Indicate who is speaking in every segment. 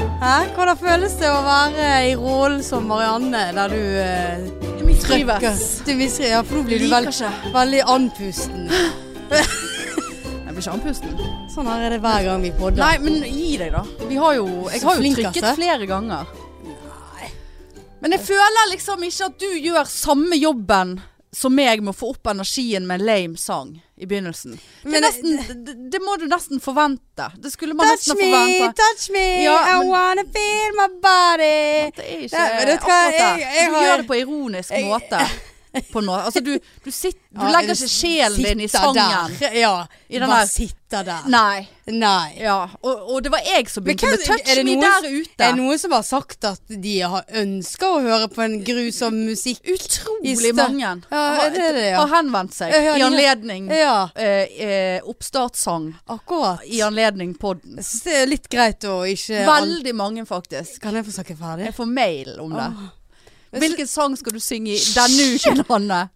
Speaker 1: Hvordan føles det å være i rollen som Marianne, der du eh,
Speaker 2: Jeg
Speaker 1: trykker? Du misriver, ja, for nå blir du vel,
Speaker 2: Liker
Speaker 1: veldig andpusten.
Speaker 2: Jeg blir ikke andpusten.
Speaker 1: Sånn her er det hver gang vi podder.
Speaker 2: Nei, men gi deg, da. Vi har jo, jeg
Speaker 1: Så
Speaker 2: har jo
Speaker 1: flink,
Speaker 2: trykket
Speaker 1: Asse.
Speaker 2: flere ganger. Men jeg føler liksom ikke at du gjør samme jobben som meg med å få opp energien med en lame sang i begynnelsen. Det,
Speaker 1: Men
Speaker 2: er nesten, det, det må du nesten forvente. Det skulle man
Speaker 1: Touch
Speaker 2: nesten ha
Speaker 1: me,
Speaker 2: forventa.
Speaker 1: touch me,
Speaker 2: Ja,
Speaker 1: I
Speaker 2: men-
Speaker 1: wanna feel my body.
Speaker 2: Det er ikke
Speaker 1: Nei, men vet du hva,
Speaker 2: akkurat det.
Speaker 1: jeg- jeg
Speaker 2: du
Speaker 1: har-
Speaker 2: gjør det på ironisk
Speaker 1: Jeg-
Speaker 2: måte. På noe. Altså, du, du, sitt, du
Speaker 1: Ja,
Speaker 2: legger ikke sjelen din i
Speaker 1: sitter
Speaker 2: sangen.
Speaker 1: Der. Ja,
Speaker 2: I den
Speaker 1: bare
Speaker 2: der-
Speaker 1: sitter der.
Speaker 2: Nei.
Speaker 1: Nei.
Speaker 2: Ja, og, og det var jeg som begynte
Speaker 1: hvem-
Speaker 2: med touch
Speaker 1: er det
Speaker 2: me
Speaker 1: noen
Speaker 2: der
Speaker 1: som-
Speaker 2: ute.
Speaker 1: Er det noen som har sagt at de har ønsker å høre på en grusom musikk? I
Speaker 2: Utrolig
Speaker 1: stø-
Speaker 2: mange
Speaker 1: Ja, er det det, ja?
Speaker 2: har henvendt seg
Speaker 1: Ja, ja,
Speaker 2: i
Speaker 1: ja.
Speaker 2: anledning
Speaker 1: Ja,
Speaker 2: eh, eh, oppstartssang.
Speaker 1: akkurat.
Speaker 2: I anledning podden.
Speaker 1: Jeg synes det er litt greit å ikke
Speaker 2: Veldig mange, faktisk.
Speaker 1: Kan jeg få snakke ferdig?
Speaker 2: Jeg får mail om det.
Speaker 1: Åh.
Speaker 2: Hvilken sang skal du synge i denne uken, Hanne?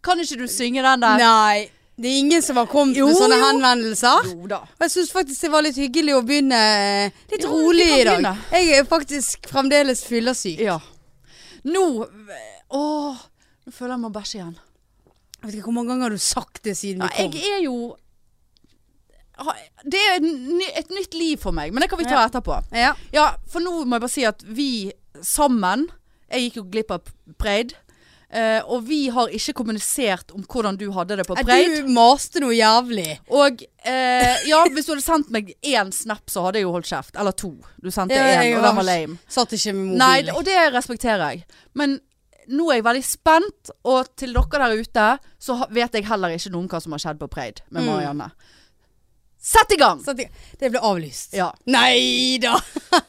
Speaker 2: Kan ikke du synge den der?
Speaker 1: Nei. Det er ingen som har kommet
Speaker 2: Jo,
Speaker 1: med sånne
Speaker 2: jo.
Speaker 1: henvendelser.
Speaker 2: Jo da.
Speaker 1: Og jeg syns faktisk det var litt hyggelig å begynne eh, litt
Speaker 2: Ja, vi
Speaker 1: rolig
Speaker 2: kan
Speaker 1: i dag.
Speaker 2: begynne.
Speaker 1: Jeg er faktisk fremdeles fyllesyk.
Speaker 2: Ja. Nå eh, Åh, nå føler jeg meg bæsje igjen.
Speaker 1: Jeg vet ikke hvor mange ganger har du sagt det siden
Speaker 2: Ja,
Speaker 1: vi kom.
Speaker 2: jeg er jo ha- Det er en ny- et nytt liv for meg, men det kan vi ta
Speaker 1: Ja.
Speaker 2: etterpå.
Speaker 1: Ja.
Speaker 2: Ja, for nå må jeg bare si at vi sammen Jeg gikk jo glipp av Preid. eh, og vi har ikke kommunisert om hvordan du hadde det på
Speaker 1: Eh,
Speaker 2: Preid.
Speaker 1: Du maste noe jævlig.
Speaker 2: Og eh, ja, hvis du hadde sendt meg én snap, så hadde jeg jo holdt kjeft. Eller to. Du sendte
Speaker 1: Ja,
Speaker 2: én,
Speaker 1: jeg
Speaker 2: og den
Speaker 1: har
Speaker 2: var lame.
Speaker 1: Satt ikke med mobilen.
Speaker 2: Nei, og det respekterer jeg. Men nå er jeg veldig spent, og til dere der ute, så ha- vet jeg heller ikke noe om hva som har skjedd på Preid med
Speaker 1: Mm.
Speaker 2: Marianne. Sett i gang!
Speaker 1: Satt ikke- det ble avlyst.
Speaker 2: Ja.
Speaker 1: Nei da!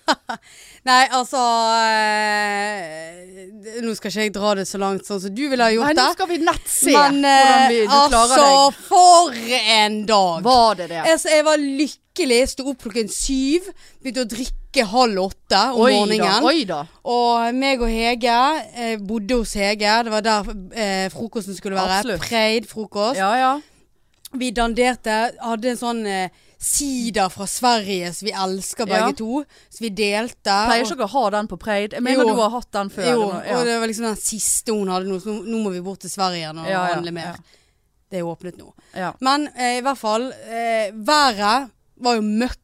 Speaker 1: Nei, altså eh, Nå skal ikke jeg dra det så langt sånn som du ville ha
Speaker 2: Nei,
Speaker 1: gjort
Speaker 2: nå
Speaker 1: det.
Speaker 2: skal vi nett se
Speaker 1: Men
Speaker 2: hvordan vi,
Speaker 1: eh,
Speaker 2: du klarer
Speaker 1: altså, for en dag!
Speaker 2: deg. Var det det?
Speaker 1: Jeg, så jeg var lykkelig. Sto opp klokken syv. Begynte å drikke halv åtte om morgenen. Altså,
Speaker 2: Da, oi da.
Speaker 1: Og meg og Hege eh, bodde hos Hege. Det var der eh, frokosten skulle være.
Speaker 2: Absolutt.
Speaker 1: Preid frokost.
Speaker 2: Ja, ja.
Speaker 1: Vi danderte. Hadde en sånn eh, sider fra Sverige som vi elsker begge
Speaker 2: Ja.
Speaker 1: to. Så vi delte. og-
Speaker 2: Pleier ikke dere å ha den på Preid? Jeg mener
Speaker 1: Jo.
Speaker 2: du har hatt den før.
Speaker 1: jo,
Speaker 2: eller noe, ja.
Speaker 1: og det var liksom den siste hun hadde nå. Så nå- nå må vi bort til Sverige igjen og
Speaker 2: Ja, ja,
Speaker 1: handle mer.
Speaker 2: ja.
Speaker 1: Det er åpnet nå.
Speaker 2: ja.
Speaker 1: Men eh, i hvert fall, eh, været var jo møkk.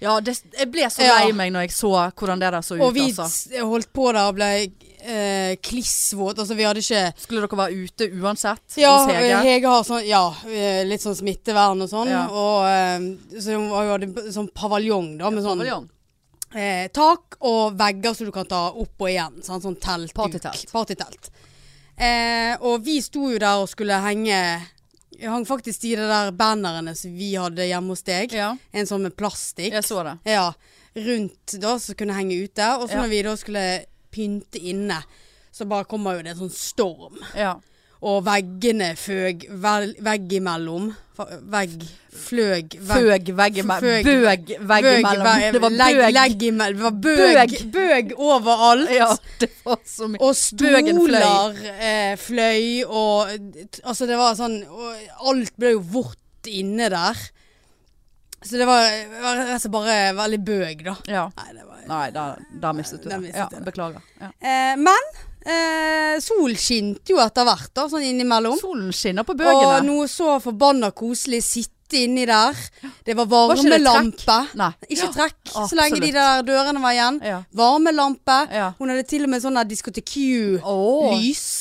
Speaker 2: ja det, jeg ble så
Speaker 1: Ja.
Speaker 2: lei meg når jeg så hvordan det der så ut.
Speaker 1: Og vi
Speaker 2: altså.
Speaker 1: s- holdt på der og ble eh, klissvåt. Altså, vi hadde ikke
Speaker 2: Skulle dere være ute uansett
Speaker 1: Ja,
Speaker 2: hos Hege?
Speaker 1: Hege har sånn, ja, eh, litt sånn smittevern og sånn.
Speaker 2: Ja.
Speaker 1: Og, eh, så hun var jo- hadde en sånn paviljong da, med sånn
Speaker 2: Paviljong.
Speaker 1: eh, tak og vegger som du kan ta opp og igjen. Sånn, sånn teltduk.
Speaker 2: Partytelt.
Speaker 1: Partytelt. Eh, og vi sto jo der og skulle henge Hang faktisk i de der bannerne som vi hadde hjemme hos deg.
Speaker 2: Ja,
Speaker 1: En sånn med plastikk.
Speaker 2: jeg så det.
Speaker 1: Ja, rundt da, så kunne henge ute. Og så
Speaker 2: Ja.
Speaker 1: når vi da skulle pynte inne, så bare kommer jo det en sånn storm.
Speaker 2: Ja.
Speaker 1: Og veggene føg vel, vegg imellom. Fa- Vegg, fløg, vegg.
Speaker 2: Føg veggimellom.
Speaker 1: Føg-
Speaker 2: Bøg veggimellom.
Speaker 1: vegg-
Speaker 2: Det var
Speaker 1: legg,
Speaker 2: bøg.
Speaker 1: legg imell- Det var bøg, bøg. overalt.
Speaker 2: Ja, det var så mye.
Speaker 1: Og
Speaker 2: Bøgen fløy.
Speaker 1: stoler eh, fløy, og t- altså det var sånn og Alt ble jo vått inne der. Så det var, var rett og slett bare veldig bøg, da.
Speaker 2: Ja.
Speaker 1: Nei, det var
Speaker 2: Nei, der, der mistet du
Speaker 1: Der
Speaker 2: det.
Speaker 1: mistet
Speaker 2: Ja,
Speaker 1: jeg det.
Speaker 2: beklager. Ja.
Speaker 1: Eh, men eh, sol skinte jo etter hvert, da, sånn innimellom.
Speaker 2: Solen skinner på
Speaker 1: Og
Speaker 2: bøgene.
Speaker 1: noe så forbanna koselig. Sitte inni der. Det var
Speaker 2: ikke det trekk?
Speaker 1: varmelampe.
Speaker 2: Nei.
Speaker 1: Ikke trekk,
Speaker 2: absolutt.
Speaker 1: så lenge de der dørene var igjen.
Speaker 2: Ja.
Speaker 1: Varmelampe.
Speaker 2: Ja.
Speaker 1: Hun hadde til og med sånn diskotek Q-lys.
Speaker 2: Åh.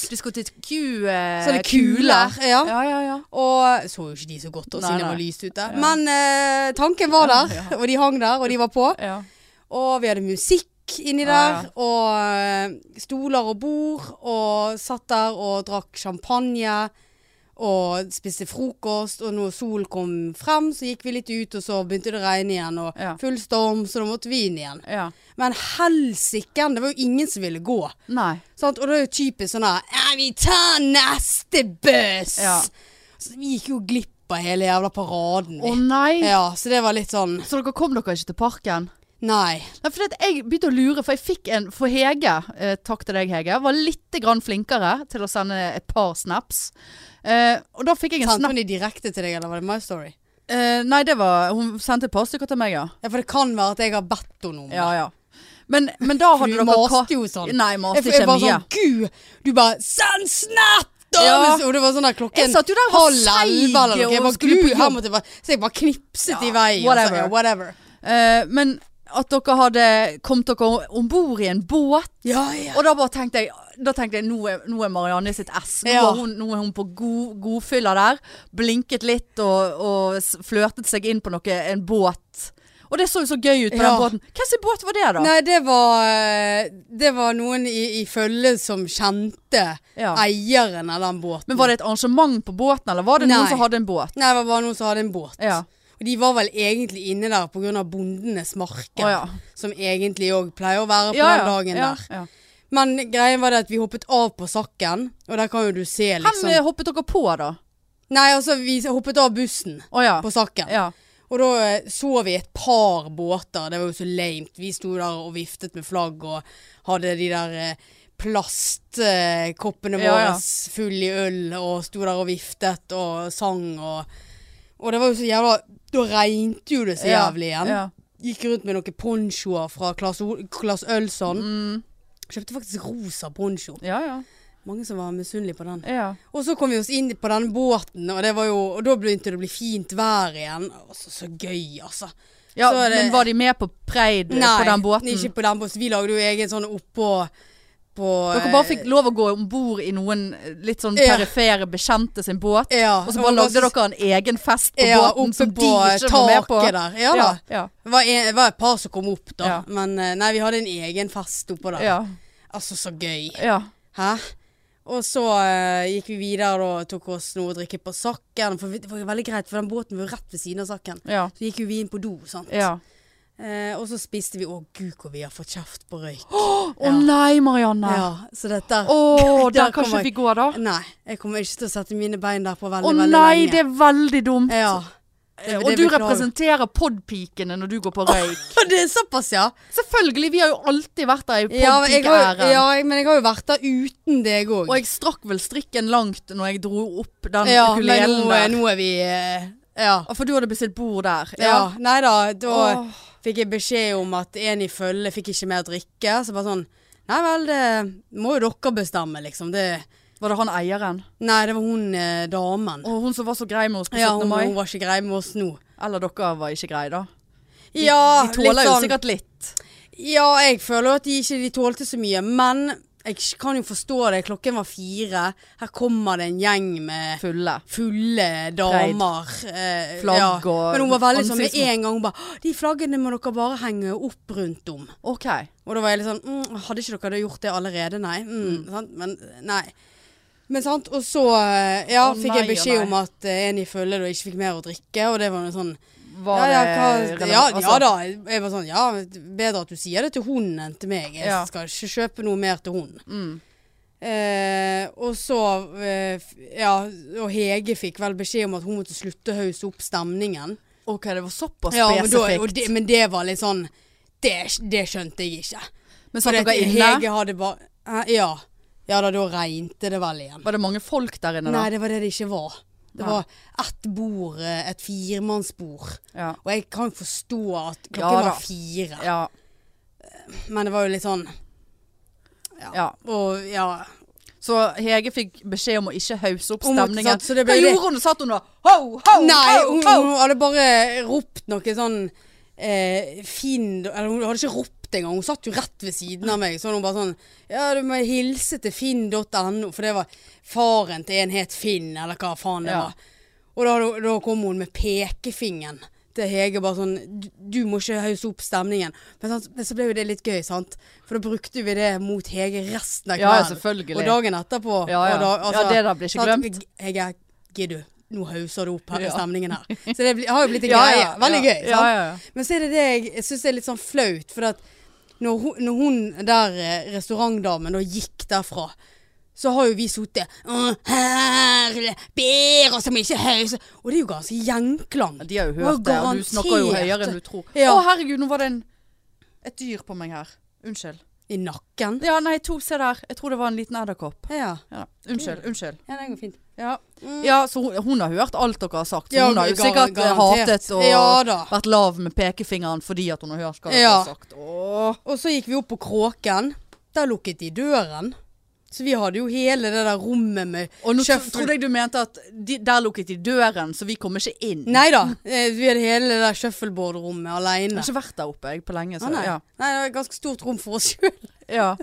Speaker 2: Diskotek Q... eh,
Speaker 1: Sånne kuler. Ja.
Speaker 2: Ja, ja, ja.
Speaker 1: Og så jo ikke de så godt da,
Speaker 2: Nei,
Speaker 1: siden det var
Speaker 2: nei.
Speaker 1: lyst ute.
Speaker 2: Ja.
Speaker 1: Men eh, tanken var
Speaker 2: Ja,
Speaker 1: der,
Speaker 2: ja.
Speaker 1: og de hang der, og de var på.
Speaker 2: ja.
Speaker 1: Og vi hadde musikk inni
Speaker 2: Ja,
Speaker 1: der, og eh, stoler og bord, og satt der og drakk champagne. Og spiste frokost, og når solen kom frem, så gikk vi litt ut, og så begynte det å regne igjen. Og
Speaker 2: Ja.
Speaker 1: full storm, så da måtte vi inn igjen.
Speaker 2: ja.
Speaker 1: Men helsiken, det var jo ingen som ville gå.
Speaker 2: Nei.
Speaker 1: Sant? Og det er jo typisk sånn her «Ja, Vi tar neste buss!
Speaker 2: Ja.
Speaker 1: Så vi gikk jo glipp av hele jævla paraden,
Speaker 2: Å
Speaker 1: vi.
Speaker 2: nei!
Speaker 1: Ja, så det var litt sånn
Speaker 2: Så dere kom dere ikke til parken?
Speaker 1: Nei.
Speaker 2: Nei, for jeg begynte å lure, for jeg fikk en For Hege, eh, takk til deg Hege, var litt grann flinkere til å sende et par snaps. Eh, og da fikk jeg en
Speaker 1: Sendte
Speaker 2: snap
Speaker 1: hun de direkte til deg, eller var det My Story?
Speaker 2: eh, Nei, det var Hun sendte et par stykker til meg, ja.
Speaker 1: Ja, For det kan være at jeg har bedt henne om det.
Speaker 2: Ja, ja. Men, men da hadde
Speaker 1: du
Speaker 2: dere
Speaker 1: maste
Speaker 2: ka-
Speaker 1: jo sånn.
Speaker 2: Nei, jeg maste
Speaker 1: Jeg, jeg
Speaker 2: ikke
Speaker 1: bare
Speaker 2: mye.
Speaker 1: sånn Gud! Du bare Send snap! Da!
Speaker 2: Ja.
Speaker 1: Og det var sånn der klokken
Speaker 2: Jeg satt jo der og var seig,
Speaker 1: eller noe. Jeg
Speaker 2: og
Speaker 1: bare,
Speaker 2: skulle på
Speaker 1: Gud, her
Speaker 2: jobb.
Speaker 1: måtte jeg bare, så jeg bare knipset
Speaker 2: Ja,
Speaker 1: i veien. Så,
Speaker 2: whatever.
Speaker 1: ja, whatever.
Speaker 2: Eh, men at dere hadde kommet dere om bord i en båt.
Speaker 1: Ja, ja.
Speaker 2: Og da bare tenkte jeg, da tenkte jeg nå, er, nå er Marianne i sitt ess. Nå,
Speaker 1: Ja.
Speaker 2: er, hun, nå er hun på god, godfylla der. Blinket litt og, og s- flørtet seg inn på noe, en båt. Og det så jo så gøy ut på
Speaker 1: Ja.
Speaker 2: den båten. Hvem sin båt var det, da?
Speaker 1: Nei, det var eh, Det var noen i, i følget som kjente
Speaker 2: Ja.
Speaker 1: eieren av den båten.
Speaker 2: Men Var det et arrangement på båten, eller var det
Speaker 1: Nei.
Speaker 2: noen som hadde en båt?
Speaker 1: Nei, det var bare noen som hadde en båt.
Speaker 2: Ja.
Speaker 1: Og de var vel egentlig inne der pga. bondenes marked,
Speaker 2: Å, ja.
Speaker 1: som egentlig òg pleier å være på
Speaker 2: Ja,
Speaker 1: den
Speaker 2: ja,
Speaker 1: dagen
Speaker 2: ja,
Speaker 1: der.
Speaker 2: ja.
Speaker 1: Men greien var det at vi hoppet av på Sakken, og der kan jo du se
Speaker 2: Hvem
Speaker 1: liksom
Speaker 2: eh, hoppet dere på, da?
Speaker 1: Nei, altså vi hoppet av bussen
Speaker 2: Å ja.
Speaker 1: på Sakken.
Speaker 2: ja.
Speaker 1: Og da eh, så vi et par båter, det var jo så lame. Vi sto der og viftet med flagg og hadde de der eh, plastkoppene
Speaker 2: Ja,
Speaker 1: våre
Speaker 2: ja.
Speaker 1: full i øl og sto der og viftet og sang og Og det var jo så jævla Da regnet jo det så
Speaker 2: Ja,
Speaker 1: jævlig igjen.
Speaker 2: ja.
Speaker 1: Gikk rundt med noen ponchoer fra Claes O- Claes Ølson.
Speaker 2: Mm.
Speaker 1: Kjøpte faktisk rosa poncho.
Speaker 2: Ja, ja.
Speaker 1: Mange som var misunnelige på den.
Speaker 2: ja.
Speaker 1: Og så kom vi oss inn på denne båten, og, det var jo, og da begynte det å bli fint vær igjen. Altså, så gøy, altså.
Speaker 2: ja
Speaker 1: Så er det-
Speaker 2: men var de med på Preid eh, på den båten?
Speaker 1: ikke på den båten. Så Vi lagde jo egen sånn oppå på
Speaker 2: Dere bare fikk lov å gå om bord i noen eh, litt sånn
Speaker 1: Ja.
Speaker 2: perifere bekjente sin båt.
Speaker 1: ja,
Speaker 2: Og så bare lagde dere en egen fest på
Speaker 1: ja,
Speaker 2: båten
Speaker 1: oppe
Speaker 2: som de
Speaker 1: på
Speaker 2: ikke var med
Speaker 1: taket
Speaker 2: på.
Speaker 1: der. Ja da.
Speaker 2: ja,
Speaker 1: Det var, en, det var et par som kom opp, da.
Speaker 2: Ja.
Speaker 1: Men eh, nei, vi hadde en egen fest oppå der.
Speaker 2: ja,
Speaker 1: Altså, så gøy.
Speaker 2: ja.
Speaker 1: Hæ? Og så eh, gikk vi videre da, og tok oss noe å drikke på Sakken. For vi- det var jo veldig greit, for den båten var jo rett ved siden av Sakken.
Speaker 2: ja,
Speaker 1: Så gikk jo vi inn på do, sant.
Speaker 2: ja.
Speaker 1: Eh, og så spiste vi Å, gud, hvor vi har fått kjeft på røyk.
Speaker 2: Å nei, Marianne.
Speaker 1: Ja, så dette
Speaker 2: Å, der kan
Speaker 1: kommer
Speaker 2: ikke vi gå, da.
Speaker 1: jeg- Nei, jeg kommer ikke til å sette mine bein der på veldig,
Speaker 2: Å
Speaker 1: veldig
Speaker 2: nei,
Speaker 1: lenge.
Speaker 2: det er veldig dumt.
Speaker 1: Ja. det-
Speaker 2: og
Speaker 1: det
Speaker 2: du
Speaker 1: beklager.
Speaker 2: representerer podpikene når du går på røyk.
Speaker 1: det er såpass, ja.
Speaker 2: Selvfølgelig, vi har jo alltid vært der i
Speaker 1: Ja, men jeg har,
Speaker 2: podpikeæren.
Speaker 1: ja, jeg- men jeg har jo vært der uten deg òg.
Speaker 2: Og jeg strakk vel strikken langt når jeg dro opp den
Speaker 1: Ja, men
Speaker 2: ukulelen
Speaker 1: nå,
Speaker 2: der.
Speaker 1: nå er vi eh, Ja.
Speaker 2: Ah, For du hadde bestilt bord der?
Speaker 1: ja. Nei da, da
Speaker 2: Åh.
Speaker 1: fikk jeg beskjed om at en i følget fikk ikke mer drikke. Så bare sånn Nei vel, det må jo dere bestemme, liksom. Det,
Speaker 2: Var det han eieren?
Speaker 1: nei, det var hun eh, damen.
Speaker 2: Og hun som var så grei med oss på 17.
Speaker 1: Ja, hun, hun
Speaker 2: mai?
Speaker 1: var ikke grei med oss nå.
Speaker 2: Eller dere var ikke greie, da? De,
Speaker 1: Ja,
Speaker 2: de tåler
Speaker 1: litt
Speaker 2: jo
Speaker 1: sånn-
Speaker 2: sikkert litt.
Speaker 1: Ja, jeg føler jo at de ikke de tålte så mye, men jeg kan jo forstå det. Klokken var fire. Her kommer det en gjeng med
Speaker 2: Fulle.
Speaker 1: fulle damer. eh,
Speaker 2: Flagg
Speaker 1: ja.
Speaker 2: og
Speaker 1: Men hun var veldig sånn med
Speaker 2: ansiktsmot-
Speaker 1: en gang hun bare «Å, De flaggene må dere bare henge opp rundt om.
Speaker 2: OK.
Speaker 1: Og da var jeg litt sånn mm, Hadde ikke dere gjort det allerede? Nei. Mm, Sant? Men nei. Men sant, og så eh, ja,
Speaker 2: Å,
Speaker 1: fikk
Speaker 2: nei,
Speaker 1: jeg
Speaker 2: å,
Speaker 1: beskjed
Speaker 2: nei.
Speaker 1: om at eh, en i følget da ikke fikk mer å drikke, og det var noe sånn ja,
Speaker 2: Var det
Speaker 1: ja, hva,
Speaker 2: relevant?
Speaker 1: ja,
Speaker 2: Altså,
Speaker 1: ja da. Jeg var sånn, ja, bedre at du sier det til hunden enn til meg. Jeg
Speaker 2: Ja.
Speaker 1: skal ikke kjøpe noe mer til hunden.
Speaker 2: Mm.
Speaker 1: Eh, og så eh, f- Ja, og Hege fikk vel beskjed om at hun måtte slutte å hausse opp stemningen.
Speaker 2: OK, det var såpass
Speaker 1: Ja, men, da,
Speaker 2: spesifikt.
Speaker 1: og det, men det var litt sånn Det, det skjønte jeg ikke.
Speaker 2: men
Speaker 1: For
Speaker 2: satt dere
Speaker 1: det-
Speaker 2: inne?
Speaker 1: Hege hadde bare Hæ? Ja. Ja da, da regnet det vel igjen.
Speaker 2: Var det mange folk der inne, da?
Speaker 1: Nei, det var det det ikke var. Det
Speaker 2: Nei.
Speaker 1: var ett bord, eh, et firemannsbord.
Speaker 2: Ja.
Speaker 1: Og jeg kan forstå at klokken
Speaker 2: Ja da.
Speaker 1: var fire.
Speaker 2: Ja.
Speaker 1: Men det var jo litt sånn
Speaker 2: ja.
Speaker 1: Og ja
Speaker 2: Så Hege fikk beskjed om å ikke hausse opp
Speaker 1: Hun måtte
Speaker 2: stemningen.
Speaker 1: satt, så det ble
Speaker 2: Hva
Speaker 1: det.
Speaker 2: gjorde hun? Satt hun da ho, ho,
Speaker 1: Nei,
Speaker 2: ho,
Speaker 1: hun,
Speaker 2: ho?
Speaker 1: hun hadde bare ropt noe sånn eh, Finn Eller hun hadde ikke ropt engang. Hun satt jo rett ved siden av meg. Så hadde hun bare sånn Ja, du må hilse til finn.no, for det var faren til en het Finn, eller hva faen det
Speaker 2: Ja.
Speaker 1: var. Og da, da kom hun med pekefingeren til Hege bare sånn Du, du må ikke hausse opp stemningen. Men, sant, men så ble jo det litt gøy, sant. For da brukte vi det mot Hege resten av
Speaker 2: Ja, ja,
Speaker 1: kvelden.
Speaker 2: selvfølgelig.
Speaker 1: og dagen etterpå.
Speaker 2: Ja,
Speaker 1: Og
Speaker 2: ja.
Speaker 1: da, altså,
Speaker 2: ja, det der blir ikke
Speaker 1: Sant?
Speaker 2: glemt.
Speaker 1: Jeg er Giddu. Nå hauser det opp her,
Speaker 2: Ja.
Speaker 1: stemningen her. Så det blir- har jo blitt en greie. Veldig
Speaker 2: ja,
Speaker 1: gøy. Sant?
Speaker 2: Ja, ja, ja.
Speaker 1: Men så er det det jeg, jeg syns er litt sånn flaut. For at når hun, når hun der eh, restaurantdamen da gikk derfra, så har jo vi sittet «Å, Herre, ber oss om ikke hause Og det er jo ganske gjenklang.
Speaker 2: De har jo
Speaker 1: Hva
Speaker 2: hørt det, og du snakker jo
Speaker 1: garantert?
Speaker 2: høyere enn du tror. Å
Speaker 1: Ja.
Speaker 2: herregud, nå var det en, et dyr på meg her. Unnskyld.
Speaker 1: I nakken?
Speaker 2: Ja, nei, to, se der. Jeg tror det var en liten edderkopp.
Speaker 1: Ja.
Speaker 2: Ja, unnskyld. Unnskyld.
Speaker 1: ja, det går fint.
Speaker 2: Ja.
Speaker 1: Mm.
Speaker 2: ja, så hun, hun har hørt alt dere har sagt. Så
Speaker 1: Ja,
Speaker 2: hun har jo
Speaker 1: gar-
Speaker 2: sikkert eh,
Speaker 1: garantert.
Speaker 2: hatet og
Speaker 1: Ja da.
Speaker 2: vært lav med pekefingeren fordi at hun har hørt hva dere
Speaker 1: Ja.
Speaker 2: har sagt. Åh.
Speaker 1: Og så gikk vi opp på Kråken. Der lukket de døren. Så vi hadde jo hele det der rommet med
Speaker 2: Og nå tro-
Speaker 1: Kjøffel.
Speaker 2: trodde jeg du mente at de, der lukket de døren, så vi kommer ikke inn.
Speaker 1: Nei da. eh, Vi hadde hele det der shuffleboard-rommet
Speaker 2: Jeg
Speaker 1: aleine.
Speaker 2: har ikke vært der oppe jeg på lenge. Så,
Speaker 1: nei.
Speaker 2: ja.
Speaker 1: nei, det var et ganske stort rom for oss sjøl.
Speaker 2: Ja.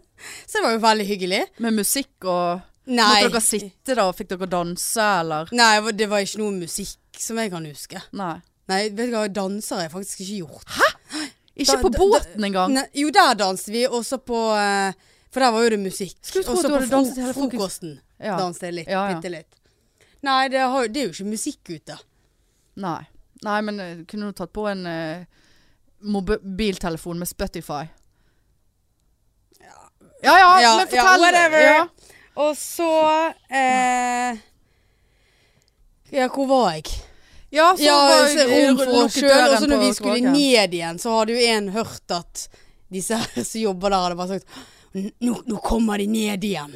Speaker 1: Så det var jo veldig hyggelig.
Speaker 2: Med musikk og
Speaker 1: Nei.
Speaker 2: Måtte dere sitte da? Fikk dere danse, eller?
Speaker 1: Nei, det var ikke noe musikk som jeg kan huske.
Speaker 2: Nei.
Speaker 1: Nei, vet du hva, danser har jeg faktisk ikke gjort.
Speaker 2: Ikke
Speaker 1: Da-
Speaker 2: på
Speaker 1: da-
Speaker 2: båten engang?
Speaker 1: Nei, jo, der danset vi, også på eh, For der var jo det musikk.
Speaker 2: Skulle tro at
Speaker 1: Også
Speaker 2: du
Speaker 1: på
Speaker 2: hadde danset hele frokost.
Speaker 1: frokosten
Speaker 2: Ja.
Speaker 1: danset jeg litt.
Speaker 2: Ja, ja.
Speaker 1: Bitte litt. Nei, det, har, det er jo ikke musikk ute.
Speaker 2: Nei. Nei, men eh, kunne du tatt på en eh, mobiltelefon med Spotify? Ja ja,
Speaker 1: Ja,
Speaker 2: men
Speaker 1: ja,
Speaker 2: fortell!
Speaker 1: whatever.
Speaker 2: Ja.
Speaker 1: Og så eh, Ja, hvor var jeg?
Speaker 2: Ja, så
Speaker 1: ja,
Speaker 2: var
Speaker 1: så rom for oss sjøl. Og så når vi skulle ned igjen, så hadde jo en hørt at disse her som jobber der, hadde bare sagt "N- nå, nå kommer de ned igjen.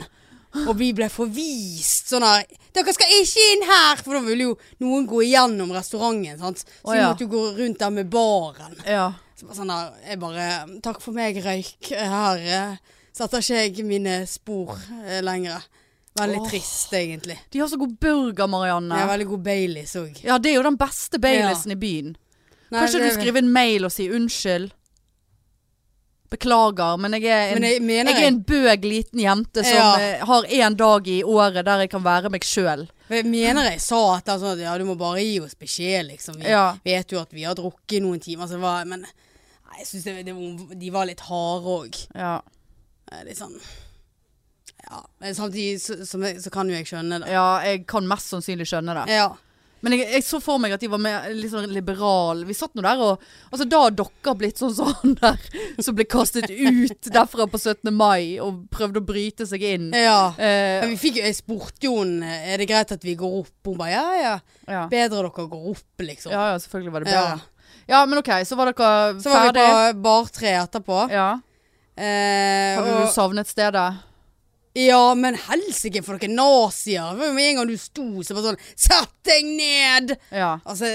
Speaker 1: Og vi ble forvist sånn her Dere skal ikke inn her! For da ville jo noen gå igjennom restauranten, sant. Så
Speaker 2: Å,
Speaker 1: vi
Speaker 2: ja.
Speaker 1: måtte jo gå rundt der med baren.
Speaker 2: Ja.
Speaker 1: Så bare sånn der, jeg bare Takk for meg, røyk. Her eh, setter ikke jeg mine spor eh, lenger. Veldig
Speaker 2: Åh.
Speaker 1: trist, egentlig.
Speaker 2: De har så god burger,
Speaker 1: Jeg
Speaker 2: Marianne.
Speaker 1: er veldig god Baileys òg.
Speaker 2: Ja, det er jo den beste Baileysen i byen. Kanskje du skriver en mail og sier unnskyld? Beklager, men jeg er en,
Speaker 1: Men jeg mener
Speaker 2: jeg er en bøg liten jente som
Speaker 1: Ja.
Speaker 2: eh, har én dag i året der jeg kan være meg sjøl.
Speaker 1: Men Jeg mener jeg sa at det er sånn at ja, du må bare gi oss beskjed, liksom. Vi
Speaker 2: Ja.
Speaker 1: vet jo at vi har drukket i noen timer, så det var, men nei, jeg syns det, det, var- de var litt harde òg.
Speaker 2: Ja.
Speaker 1: Litt sånn Ja. Men samtidig så, som jeg, så kan jo jeg skjønne det.
Speaker 2: ja, jeg kan mest sannsynlig skjønne det.
Speaker 1: Ja.
Speaker 2: Men jeg, jeg så for meg at de var mer, litt sånn liberale. Vi satt nå der og Altså, da har dere blitt sånn som han der som ble kastet ut derfra på 17. mai og prøvde å bryte seg inn.
Speaker 1: ja. Men
Speaker 2: Eh,
Speaker 1: vi fikk, jeg spurte jo henne er det greit at vi går opp. Hun bare ja, ja.
Speaker 2: ja.
Speaker 1: Bedre dere går opp, liksom.
Speaker 2: ja, ja, selvfølgelig var det
Speaker 1: Ja.
Speaker 2: bedre. Ja, men OK, så var dere
Speaker 1: Så var
Speaker 2: ferdig.
Speaker 1: vi på bartre etterpå.
Speaker 2: Ja.
Speaker 1: Eh,
Speaker 2: Hadde du
Speaker 1: og,
Speaker 2: savnet stedet?
Speaker 1: ja, men helsike for dere nazier! Det var jo Med en gang du sto, så bare sånn Sett deg ned!
Speaker 2: Ja.
Speaker 1: Altså,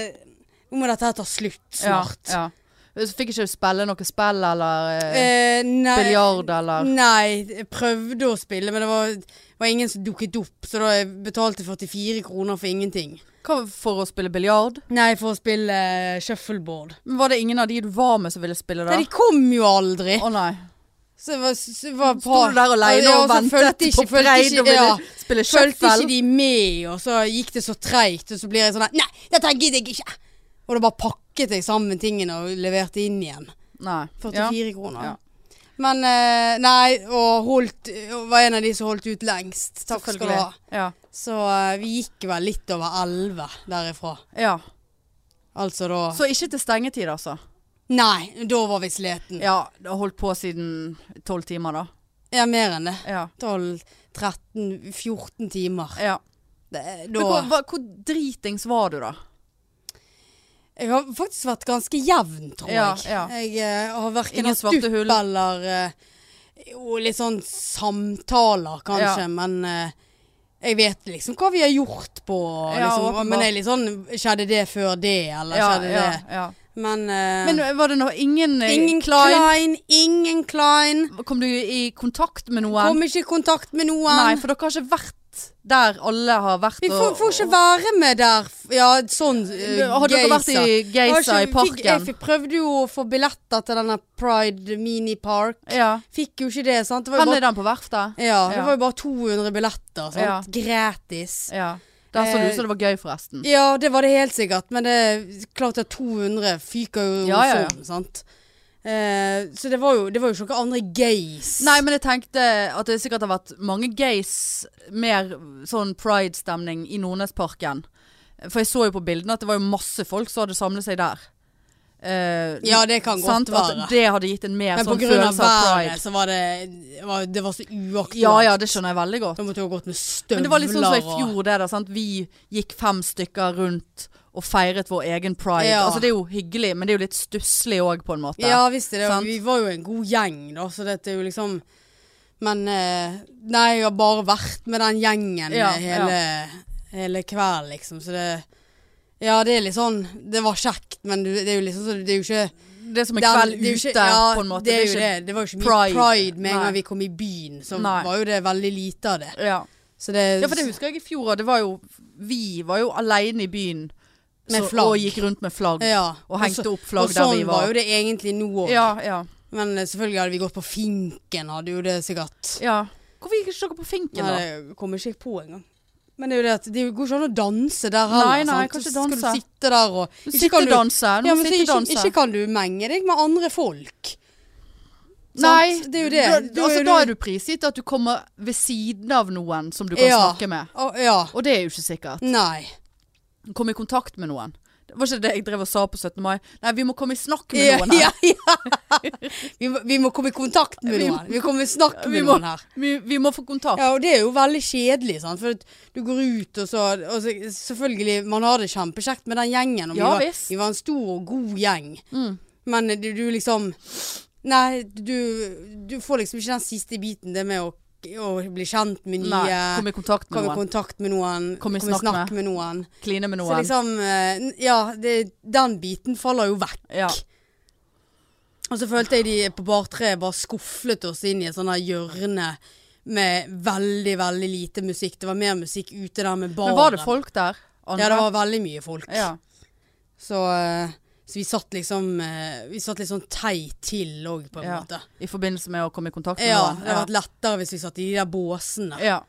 Speaker 1: nå må dette her ta slutt snart.
Speaker 2: Ja, ja. Så fikk ikke du spille noe spill eller eh,
Speaker 1: Eh, nei,
Speaker 2: biljard eller
Speaker 1: Nei, jeg prøvde å spille, men det var, var ingen som dukket opp. Så da jeg betalte 44 kroner for ingenting.
Speaker 2: Hva for å spille biljard?
Speaker 1: Nei, for å spille eh, shuffleboard.
Speaker 2: Men Var det ingen av de du var med som ville spille da?
Speaker 1: Nei, de kom jo aldri!
Speaker 2: Å nei.
Speaker 1: Så det var, så det var
Speaker 2: Sto du der alene
Speaker 1: Ja,
Speaker 2: og
Speaker 1: så
Speaker 2: ventet
Speaker 1: fulgte
Speaker 2: på
Speaker 1: ikke- fulgte
Speaker 2: Breid og
Speaker 1: ikke-
Speaker 2: ville
Speaker 1: ja.
Speaker 2: spille
Speaker 1: Fulgte
Speaker 2: shuffle?
Speaker 1: ikke de med, og så gikk det så treigt, og så blir jeg sånn her, Nei, dette her gidder jeg ikke! Og da bare pakket jeg sammen tingene og leverte inn igjen.
Speaker 2: Nei.
Speaker 1: 44 kroner.
Speaker 2: Ja.
Speaker 1: Men eh, Nei, og holdt og var en av de som holdt ut lengst. Takk skal du
Speaker 2: selvfølgelig.
Speaker 1: ha.
Speaker 2: Ja.
Speaker 1: Så eh, vi gikk vel litt over 11 derifra.
Speaker 2: ja.
Speaker 1: Altså da
Speaker 2: Så ikke til stengetid, altså?
Speaker 1: Nei, da var vi sliten. Ja,
Speaker 2: Ja, det har holdt på siden tolv timer, da.
Speaker 1: mer enn det.
Speaker 2: Ja.
Speaker 1: 12-13-14 timer.
Speaker 2: ja.
Speaker 1: Det, da
Speaker 2: Men hvor, hva, hvor dritings var du, da?
Speaker 1: Jeg har faktisk vært ganske jevn, tror
Speaker 2: Ja,
Speaker 1: jeg.
Speaker 2: ja.
Speaker 1: Jeg eh, har
Speaker 2: Ingen
Speaker 1: verken hatt
Speaker 2: svarte
Speaker 1: dupp
Speaker 2: hull.
Speaker 1: eller eh, Jo, litt sånn samtaler, kanskje,
Speaker 2: Ja.
Speaker 1: men eh, jeg vet liksom hva vi har gjort på
Speaker 2: Ja,
Speaker 1: liksom,
Speaker 2: åpenbart.
Speaker 1: Men det er litt sånn Skjedde det før det, eller
Speaker 2: Ja,
Speaker 1: skjedde
Speaker 2: ja,
Speaker 1: det
Speaker 2: ja.
Speaker 1: Men, eh,
Speaker 2: Men var det noe ingen, eh,
Speaker 1: Ingen Klein. ingen Klein.
Speaker 2: Kom du i kontakt med noen?
Speaker 1: Kom ikke i kontakt med noen.
Speaker 2: Nei, for dere har ikke vært der alle har vært.
Speaker 1: vi får,
Speaker 2: og-
Speaker 1: får ikke være med der. Ja, sånn eh,
Speaker 2: Har dere vært i
Speaker 1: geyser. Jeg har
Speaker 2: Geisa i
Speaker 1: ikke- Fikk, jeg
Speaker 2: parken?
Speaker 1: fikk, prøvde jo å få billetter til denne Pride Mini Park.
Speaker 2: Ja.
Speaker 1: Fikk jo ikke det, sant? Det var
Speaker 2: Hvor
Speaker 1: jo
Speaker 2: er
Speaker 1: bare,
Speaker 2: den på verftet?
Speaker 1: ja, det
Speaker 2: Ja.
Speaker 1: var jo bare 200 billetter, sant?
Speaker 2: Ja.
Speaker 1: Gratis.
Speaker 2: Ja. Der så det ut som det var gøy, forresten.
Speaker 1: Ja, det var det helt sikkert, men det er klart at 200 fyker jo
Speaker 2: Ja, ja, ja.
Speaker 1: sånn, sant? Eh, så det var jo, det var jo ikke noen andre gays.
Speaker 2: Nei, men jeg tenkte at det sikkert har vært mange gays mer sånn pride-stemning i Nordnesparken. For jeg så jo på bildene at det var jo masse folk som hadde samlet seg der. eh,
Speaker 1: Ja, det kan
Speaker 2: sant?
Speaker 1: godt
Speaker 2: At
Speaker 1: være.
Speaker 2: det hadde gitt en mer
Speaker 1: Men på
Speaker 2: sånn
Speaker 1: grunn av
Speaker 2: følelse av pride.
Speaker 1: været så var det var, Det var så uaktuelt.
Speaker 2: Ja ja, det skjønner jeg veldig godt.
Speaker 1: Da måtte du ha gått med støvler
Speaker 2: Men det var litt sånn som i
Speaker 1: og-
Speaker 2: fjor, det da. Sant? Vi gikk fem stykker rundt og feiret vår egen pride.
Speaker 1: Ja.
Speaker 2: Altså, det er jo hyggelig, men det er jo litt stusslig òg, på en måte.
Speaker 1: Ja visst er det.
Speaker 2: Sant?
Speaker 1: Vi var jo en god gjeng, da, så dette er jo liksom Men eh, Nei, jeg har bare vært med den gjengen
Speaker 2: Ja,
Speaker 1: eh, hele, hele kvelden, liksom, så det Ja, det er litt sånn Det var kjekt, men du, det er jo liksom så Det er jo ikke
Speaker 2: Det er som en
Speaker 1: den-
Speaker 2: kveld
Speaker 1: det er jo
Speaker 2: ute,
Speaker 1: ikke- ja,
Speaker 2: på en måte.
Speaker 1: Det, er jo
Speaker 2: ikke-
Speaker 1: det. det var jo ikke mye
Speaker 2: pride.
Speaker 1: pride, med en
Speaker 2: Nei.
Speaker 1: gang vi kom i byen, så
Speaker 2: Nei.
Speaker 1: var jo det veldig lite av det.
Speaker 2: Ja.
Speaker 1: Så det
Speaker 2: ja, for det husker jeg i fjor. og Det var jo, vi var jo aleine i byen
Speaker 1: Med
Speaker 2: så,
Speaker 1: flagg.
Speaker 2: og gikk rundt med flagg.
Speaker 1: ja.
Speaker 2: Og hengte
Speaker 1: så-
Speaker 2: opp flagg
Speaker 1: og
Speaker 2: der
Speaker 1: sånn
Speaker 2: vi
Speaker 1: var
Speaker 2: var.
Speaker 1: jo det egentlig nå òg.
Speaker 2: ja, ja,
Speaker 1: Men eh, selvfølgelig hadde vi gått på Finken, hadde jo det sikkert
Speaker 2: ja. Hvorfor gikk ikke dere på finken, da?
Speaker 1: Nei, det kommer ikke jeg på engang. Men det er jo det at det går ikke an å danse der heller.
Speaker 2: Nei, nei,
Speaker 1: sant?
Speaker 2: kan ikke
Speaker 1: Så
Speaker 2: danse.
Speaker 1: Skal du sitte der og
Speaker 2: Du
Speaker 1: Ikke
Speaker 2: sitter
Speaker 1: kan
Speaker 2: og
Speaker 1: du-
Speaker 2: danser. Du
Speaker 1: ja,
Speaker 2: må
Speaker 1: men så
Speaker 2: sitte og
Speaker 1: ikke,
Speaker 2: danse.
Speaker 1: ikke kan du menge deg med andre folk. Sant?
Speaker 2: Nei,
Speaker 1: det er jo det.
Speaker 2: Da,
Speaker 1: Du er
Speaker 2: altså,
Speaker 1: jo-
Speaker 2: da er du prisgitt at du kommer ved siden av noen som du kan
Speaker 1: Ja.
Speaker 2: snakke med.
Speaker 1: Å, ja.
Speaker 2: Og det er jo ikke sikkert.
Speaker 1: Nei.
Speaker 2: Kom i kontakt med noen. Det var ikke det jeg drev og sa på 17. mai. Nei, vi må komme i snakk med
Speaker 1: Ja,
Speaker 2: noen her.
Speaker 1: ja, ja. Vi, må, vi må komme i kontakt med
Speaker 2: Vi må-
Speaker 1: noen. Vi kommer i snakk
Speaker 2: Vi
Speaker 1: med
Speaker 2: må-
Speaker 1: noen her.
Speaker 2: Vi, vi må få kontakt.
Speaker 1: Ja, og det er jo veldig kjedelig, sant. For at du går ut og så og så, Selvfølgelig, man har det kjempekjekt med den gjengen. Og
Speaker 2: Ja,
Speaker 1: vi, var,
Speaker 2: visst.
Speaker 1: vi var en stor og god gjeng.
Speaker 2: Mm.
Speaker 1: Men du, du liksom Nei, du, du får liksom ikke den siste biten, det med å, å bli kjent med nye
Speaker 2: Nei, kom i kontakt med
Speaker 1: Komme i
Speaker 2: noen.
Speaker 1: kontakt med noen.
Speaker 2: Kom i
Speaker 1: komme
Speaker 2: snakk
Speaker 1: med. noen.
Speaker 2: Kline med
Speaker 1: Så
Speaker 2: noen.
Speaker 1: liksom eh, n- Ja, det, den biten faller jo vekk.
Speaker 2: Ja.
Speaker 1: Og så følte jeg de på bartreet bare skufflet oss inn i et sånt her hjørne med veldig, veldig lite musikk. Det var mer musikk ute der med baren.
Speaker 2: Men var det folk der? Andre?
Speaker 1: Ja, det var veldig mye folk.
Speaker 2: Ja.
Speaker 1: Så, eh, så vi satt liksom eh, Vi satt litt sånn teit til òg, på en
Speaker 2: Ja.
Speaker 1: måte.
Speaker 2: I forbindelse med å komme i kontakt med
Speaker 1: Ja,
Speaker 2: noen.
Speaker 1: det hadde vært lettere hvis vi satt i de der båsene.
Speaker 2: ja.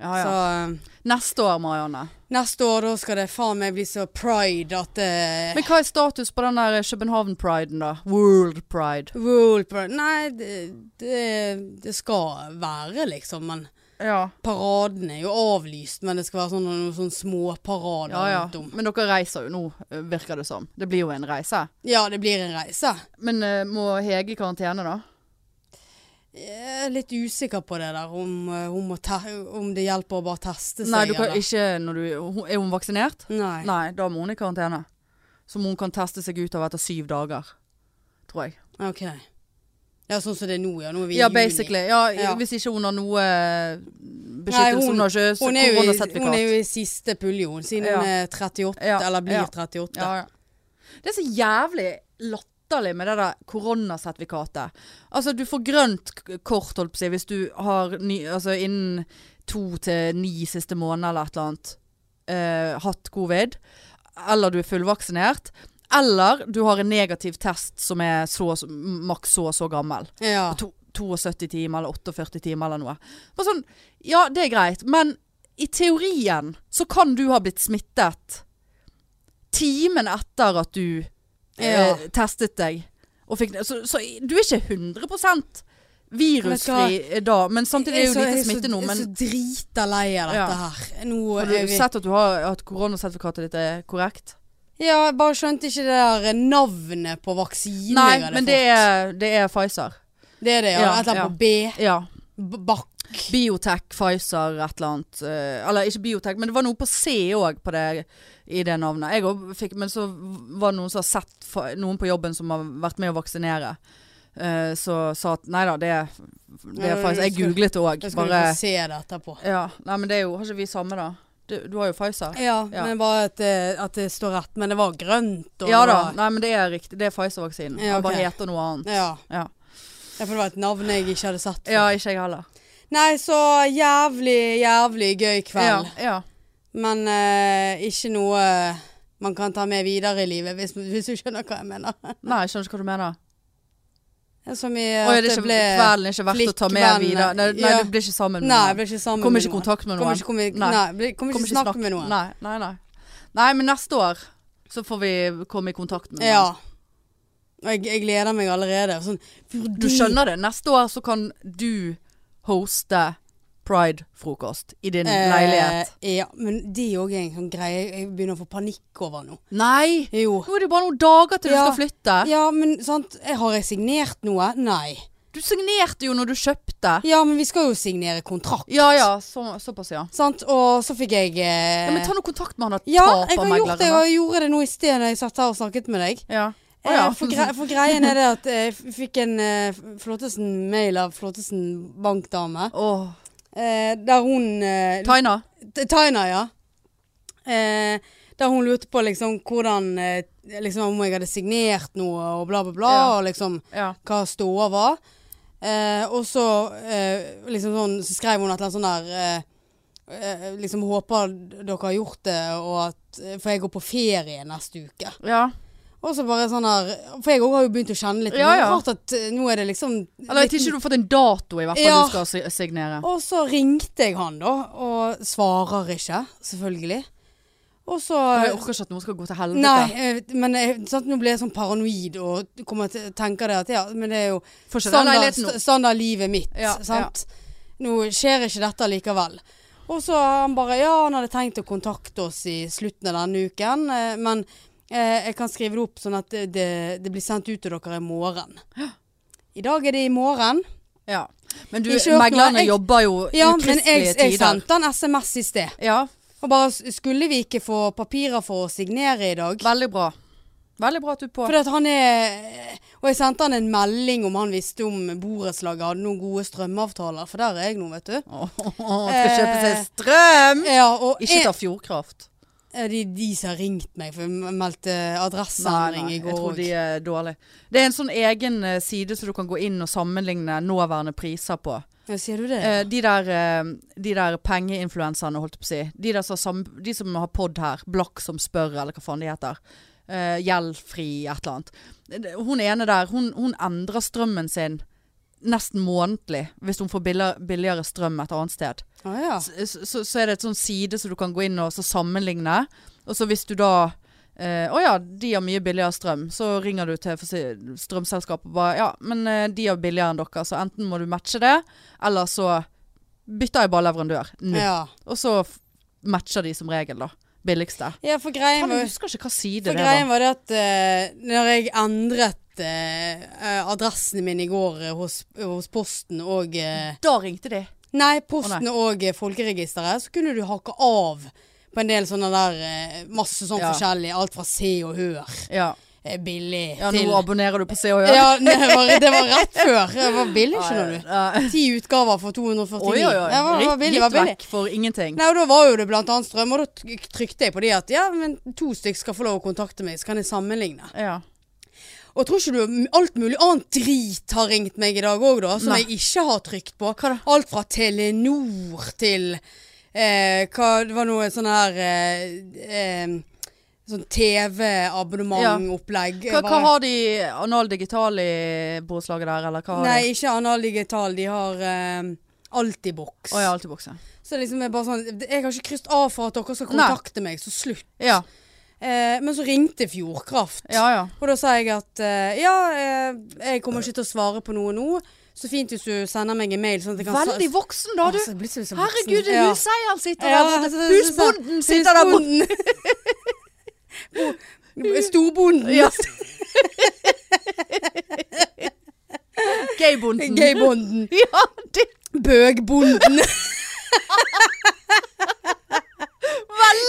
Speaker 2: ja, ja.
Speaker 1: Så eh,
Speaker 2: Neste år, Marianne.
Speaker 1: neste år da skal det faen meg bli så pride at eh,
Speaker 2: Men hva er status på den der København-priden, da? World pride.
Speaker 1: World pride Nei, det, det, det skal være, liksom. Men
Speaker 2: Ja,
Speaker 1: paraden er jo avlyst, men det skal være sånne, noen sånne småparader
Speaker 2: ja, ja.
Speaker 1: rundt om.
Speaker 2: Men dere reiser jo nå, virker det som. Det blir jo en reise.
Speaker 1: Ja, det blir en reise.
Speaker 2: Men eh, må Hege i karantene, da?
Speaker 1: Jeg er litt usikker på det der, om, eh, hun må te- om det hjelper å bare teste seg.
Speaker 2: Nei, du kan
Speaker 1: eller-
Speaker 2: ikke når du hun- Er hun vaksinert?
Speaker 1: Nei.
Speaker 2: Nei, da må hun i karantene. Som hun kan teste seg ut av etter syv dager. Tror jeg.
Speaker 1: Ok. Ja, sånn som det er nå, ja. Nå er vi
Speaker 2: Ja,
Speaker 1: i juni.
Speaker 2: basically. Ja,
Speaker 1: Ja.
Speaker 2: Hvis ikke hun har noe eh,
Speaker 1: Nei,
Speaker 2: beskyttelse.
Speaker 1: hun-
Speaker 2: Hun har ikke
Speaker 1: Hun er, jo i, hun er
Speaker 2: koronasertifikat.
Speaker 1: jo i siste pulje, hun, siden
Speaker 2: Ja.
Speaker 1: hun er 38,
Speaker 2: Ja,
Speaker 1: eller blir
Speaker 2: ja.
Speaker 1: 38.
Speaker 2: Ja, ja. Det er så jævlig latterlig med det der koronasertifikatet. Altså, du får grønt k- kort, holdt på å si, hvis du har ny, altså, innen to til ni siste måned eller et eller annet eh, hatt covid, eller du er fullvaksinert, eller du har en negativ test som er så, så- maks så og så gammel
Speaker 1: Ja.
Speaker 2: to, 72 timer eller 48 timer eller noe. Bare sånn, ja, det er greit, men i teorien så kan du ha blitt smittet timen etter at du
Speaker 1: Ja.
Speaker 2: eh, testet deg. Og fikk, så, så du er ikke 100 virusfri da, men samtidig er det jo lite smitte nå.
Speaker 1: Jeg
Speaker 2: Men
Speaker 1: er så drita lei av dette
Speaker 2: Ja.
Speaker 1: her. Nå
Speaker 2: har
Speaker 1: er
Speaker 2: du
Speaker 1: vi
Speaker 2: sett at, du har, at koronasertifikatet ditt er korrekt?
Speaker 1: Ja, jeg bare skjønte ikke det der navnet på vaksinen
Speaker 2: Nei,
Speaker 1: jeg hadde
Speaker 2: men
Speaker 1: fått.
Speaker 2: det er, det er Pfizer.
Speaker 1: Det er det, ja.
Speaker 2: Ja,
Speaker 1: Et eller
Speaker 2: ja.
Speaker 1: annet på B.
Speaker 2: Ja.
Speaker 1: B- Bakk.
Speaker 2: Biotech, Pfizer, et eller annet. eh, Eller ikke Biotech, men det var noe på C òg på det, i det navnet. Jeg også fikk, men så var det noen som har sett fa- noen på jobben som har vært med å vaksinere. eh, Så sa at nei da, det, er- det er
Speaker 1: Ja,
Speaker 2: Pfizer. Jeg
Speaker 1: skal-
Speaker 2: googlet det òg.
Speaker 1: Jeg skulle
Speaker 2: Bare
Speaker 1: få se det etterpå.
Speaker 2: Ja. Nei, men det er jo Har ikke vi samme, da? Du, du har jo Pfizer.
Speaker 1: Ja,
Speaker 2: Ja.
Speaker 1: men bare at, eh, at det står rett. Men det var grønt. Og
Speaker 2: Ja
Speaker 1: det
Speaker 2: da.
Speaker 1: var-
Speaker 2: Nei, men det er riktig. Det er Pfizer-vaksinen.
Speaker 1: Ja,
Speaker 2: Den bare
Speaker 1: ok.
Speaker 2: heter noe annet.
Speaker 1: Ja.
Speaker 2: Ja.
Speaker 1: Ja, for det var et navn jeg ikke hadde sett. før.
Speaker 2: ja, ikke jeg heller.
Speaker 1: Nei, så jævlig, jævlig gøy kveld.
Speaker 2: Ja, ja.
Speaker 1: Men eh, ikke noe man kan ta med videre i livet, hvis, hvis du skjønner hva jeg mener.
Speaker 2: Nei, jeg skjønner ikke hva du mener.
Speaker 1: Som i
Speaker 2: Å, er
Speaker 1: at
Speaker 2: det ikke kvelden er ikke verdt å ta med
Speaker 1: flikkvenner.
Speaker 2: videre? Nei, nei
Speaker 1: Ja.
Speaker 2: du blir ikke sammen med
Speaker 1: Nei,
Speaker 2: noen.
Speaker 1: jeg ble ikke sammen
Speaker 2: Kommer
Speaker 1: med
Speaker 2: ikke i
Speaker 1: noen.
Speaker 2: kontakt med
Speaker 1: Kommer
Speaker 2: noen.
Speaker 1: ikke, kom, nei.
Speaker 2: Nei.
Speaker 1: ble- kommer ikke snakke med noen.
Speaker 2: Nei, nei, nei. Nei, men neste år så får vi komme i kontakt med noen.
Speaker 1: Ja. Og jeg, jeg gleder meg allerede. Sånn,
Speaker 2: Du skjønner det. Neste år så kan du hoste pride-frokost i din leilighet.
Speaker 1: Eh, ja, men det òg er en sånn greie jeg begynner å få panikk over nå.
Speaker 2: Nei!
Speaker 1: Jo.
Speaker 2: Nå er det jo bare noen dager til
Speaker 1: Ja.
Speaker 2: du skal flytte.
Speaker 1: Ja, men sant, jeg har jeg signert noe? Nei.
Speaker 2: Du signerte jo når du kjøpte.
Speaker 1: Ja, men vi skal jo signere kontrakt.
Speaker 2: Ja ja, så, såpass ja.
Speaker 1: Sant, og så fikk jeg eh...
Speaker 2: ja. Men ta nå kontakt med han der
Speaker 1: Ja, jeg har gjort det,
Speaker 2: tapermegleren.
Speaker 1: og jeg gjorde det nå i sted når jeg satt her og snakket med deg.
Speaker 2: Ja. Å,
Speaker 1: Eh,
Speaker 2: ja.
Speaker 1: For, grei, for greien er det at eh, jeg fikk en eh, Flåttesen-mail av Flåttesen bankdame,
Speaker 2: Åh.
Speaker 1: eh, der hun eh,
Speaker 2: Taina.
Speaker 1: T- Taina, ja. Eh, der hun lurte på liksom hvordan eh, liksom Om jeg hadde signert noe og bla, bla, bla.
Speaker 2: Ja.
Speaker 1: Og liksom
Speaker 2: Ja.
Speaker 1: hva ståa var. Eh, og så eh, liksom sånn Så skrev hun et eller annet sånn der eh, eh, Liksom håper dere har gjort det, og at eh, For jeg går på ferie neste uke.
Speaker 2: ja.
Speaker 1: Og så bare sånn her For jeg òg har jo begynt å kjenne litt.
Speaker 2: Ja,
Speaker 1: men det er
Speaker 2: ja.
Speaker 1: Rart at eh, nå er det liksom litt-
Speaker 2: Eller jeg tror ikke du har fått en dato i hvert fall
Speaker 1: Ja.
Speaker 2: du skal si- signere.
Speaker 1: og så ringte jeg han da, og svarer ikke, selvfølgelig. Og så
Speaker 2: Jeg orker ikke at noen skal gå til helvete.
Speaker 1: Nei, eh, men jeg, sant, nå ble jeg sånn paranoid og kommer til å tenke det at ja, men det er jo
Speaker 2: Forskjell av
Speaker 1: standard,
Speaker 2: leiligheten nå.
Speaker 1: st- standard livet mitt,
Speaker 2: Ja,
Speaker 1: sant. Nå skjer ikke dette likevel. Og så han bare ja, han hadde tenkt å kontakte oss i slutten av denne uken, eh, men eh, jeg kan skrive det opp sånn at det, det, det blir sendt ut til dere i morgen. I dag er det i morgen.
Speaker 2: Ja. Men du,
Speaker 1: Ikke gjort noe.
Speaker 2: meglerne
Speaker 1: Jeg-
Speaker 2: jobber jo
Speaker 1: Ja, men jeg,
Speaker 2: ukristelige
Speaker 1: jeg
Speaker 2: tider.
Speaker 1: sendte han SMS i sted.
Speaker 2: Ja,
Speaker 1: Og bare s- skulle vi ikke få papirer for å signere i dag?
Speaker 2: veldig bra. Veldig bra at du er på.
Speaker 1: Fordi at han er Og jeg sendte han en melding om han visste om borettslaget hadde noen gode strømavtaler, for der er jeg nå, vet du.
Speaker 2: Åh, skal kjøpe seg strøm!
Speaker 1: Ja, og
Speaker 2: Mm. Ikke
Speaker 1: Eh, jeg,
Speaker 2: ta Fjordkraft.
Speaker 1: er de, de som har ringt meg, for jeg meldte
Speaker 2: Nei,
Speaker 1: adresseendring
Speaker 2: nei,
Speaker 1: i
Speaker 2: jeg
Speaker 1: går
Speaker 2: tror
Speaker 1: òg.
Speaker 2: de er dårlige. Det er en sånn egen eh, side som du kan gå inn og sammenligne nåværende priser på.
Speaker 1: Ja, sier du det?
Speaker 2: Eh, de der, eh, de der pengeinfluenserne, holdt jeg på å si. De, der som, har sam- de som har pod her. Blakk som spør, eller hva faen de heter. Eh, Gjeldfri, et eller annet. Eh, Hun ene der, hun, hun endrer strømmen sin nesten månedlig hvis hun får billa- billigere strøm et annet sted.
Speaker 1: Å ja.
Speaker 2: S- Så, så er det et sånn side som du kan gå inn og så sammenligne. Og så hvis du da eh, Å ja, de har mye billigere strøm. Så ringer du til for si- strømselskapet og bare Ja, men eh, de har billigere enn dere, så enten må du matche det, eller så bytter jeg bare leverandør nå.
Speaker 1: ja.
Speaker 2: Og så f- matcher de som regel, da. Billigste.
Speaker 1: Ja, for greien
Speaker 2: Faen,
Speaker 1: var
Speaker 2: jeg husker ikke hva side
Speaker 1: For
Speaker 2: det var.
Speaker 1: greien var det at eh, når jeg endret eh, eh, adressen min i går eh, hos, hos Posten og eh,
Speaker 2: Da ringte de.
Speaker 1: Nei, Posten og eh, Folkeregisteret, så kunne du hakke av på en del sånne der eh, Masse sånn
Speaker 2: Ja.
Speaker 1: forskjellig. Alt fra Se og Hør
Speaker 2: Ja,
Speaker 1: eh, billig
Speaker 2: ja nå
Speaker 1: til
Speaker 2: abonnerer du på Se og Hør.
Speaker 1: Ja, det var, det var rett før. Det var billig, skjønner du.
Speaker 2: Ja, ja.
Speaker 1: Ti utgaver for 249.
Speaker 2: Oi, oi, oi.
Speaker 1: Det var, det var billig. det Var
Speaker 2: Gitt
Speaker 1: billig.
Speaker 2: vekk for ingenting.
Speaker 1: Nei, og da var jo det blant annet strøm, og da tryk- trykte jeg på de at ja, men to stykk skal få lov å kontakte meg, så kan jeg sammenligne.
Speaker 2: Ja.
Speaker 1: Og tror ikke du alt mulig annet drit har ringt meg i dag òg, da? Som
Speaker 2: Nei.
Speaker 1: jeg ikke har trykt på. Alt fra Telenor til eh, hva, Det var noe sånn her eh, eh, Sånn TV-abonnementopplegg.
Speaker 2: Hva,
Speaker 1: Jeg
Speaker 2: hva
Speaker 1: bare-
Speaker 2: har de anal digital i borettslaget der, eller hva har
Speaker 1: Nei,
Speaker 2: de?
Speaker 1: ikke Anal Digital. De har eh, Altibox.
Speaker 2: Å ja, alltid bokse.
Speaker 1: Så det liksom er bare sånn Jeg har ikke krysset av for at dere skal
Speaker 2: Nei.
Speaker 1: kontakte meg, så slutt.
Speaker 2: Ja,
Speaker 1: Eh, men så ringte Fjordkraft.
Speaker 2: ja, ja.
Speaker 1: Og da sa jeg at eh, ja, eh, jeg kommer ikke til å svare på noe nå. Så fint hvis du sender meg en mail. Sånn at jeg kan sa-
Speaker 2: Veldig voksen da, du.
Speaker 1: Altså, jeg blir så- så voksen.
Speaker 2: Herregud, det er
Speaker 1: Ja.
Speaker 2: huseieren sitter
Speaker 1: Ja, altså,
Speaker 2: der
Speaker 1: så- så-
Speaker 2: borte.
Speaker 1: så-
Speaker 2: Husbonden sitter der borte.
Speaker 1: Husbonden. Bo- Storbonden.
Speaker 2: Ja. Gaybonden.
Speaker 1: Gaybonden.
Speaker 2: Ja, det
Speaker 1: Bøgbonden.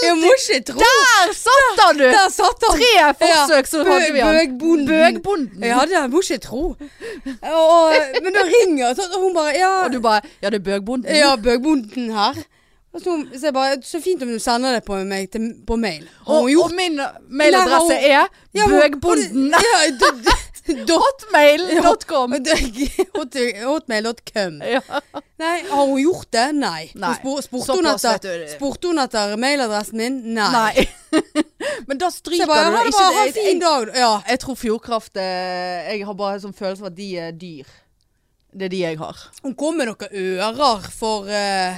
Speaker 1: Jeg må ikke tro
Speaker 2: der satt han, du!
Speaker 1: Der satt han!
Speaker 2: Tre forsøk, så
Speaker 1: Bø-
Speaker 2: hadde vi han.
Speaker 1: Bøgbonden.
Speaker 2: Bøgbonden.
Speaker 1: Ja, det må ikke tro. Og, men da ringer jeg, sånn, og hun bare ja,
Speaker 2: Og du bare Ja, det er bøgbonden.
Speaker 1: ja, bøgbonden her. Og så, hun- så jeg bare Så fint om du sender det på meg til, på mail. Har
Speaker 2: Og,
Speaker 1: hun gjort
Speaker 2: og min mailadresse er
Speaker 1: Ja, hun-
Speaker 2: bøgbonden.
Speaker 1: Ja, d- d- dot-
Speaker 2: Hotmail.com.
Speaker 1: hot- Hotmail.com.
Speaker 2: Ja.
Speaker 1: Nei, har hun gjort det? Nei.
Speaker 2: Nei.
Speaker 1: Hun spor, spurte, hun
Speaker 2: Såpass, vet
Speaker 1: etter,
Speaker 2: du.
Speaker 1: spurte hun etter mailadressen min? Nei.
Speaker 2: Nei. Men da
Speaker 1: Så
Speaker 2: stryker
Speaker 1: jeg bare,
Speaker 2: du
Speaker 1: ha det
Speaker 2: ikke
Speaker 1: bra, ha
Speaker 2: jeg-
Speaker 1: en fin dag. da. Ja.
Speaker 2: jeg- Jeg tror Fjordkraft eh, Jeg har bare en sånn følelse av at de er dyr. Det er de jeg har.
Speaker 1: Hun kom med noen ører for eh,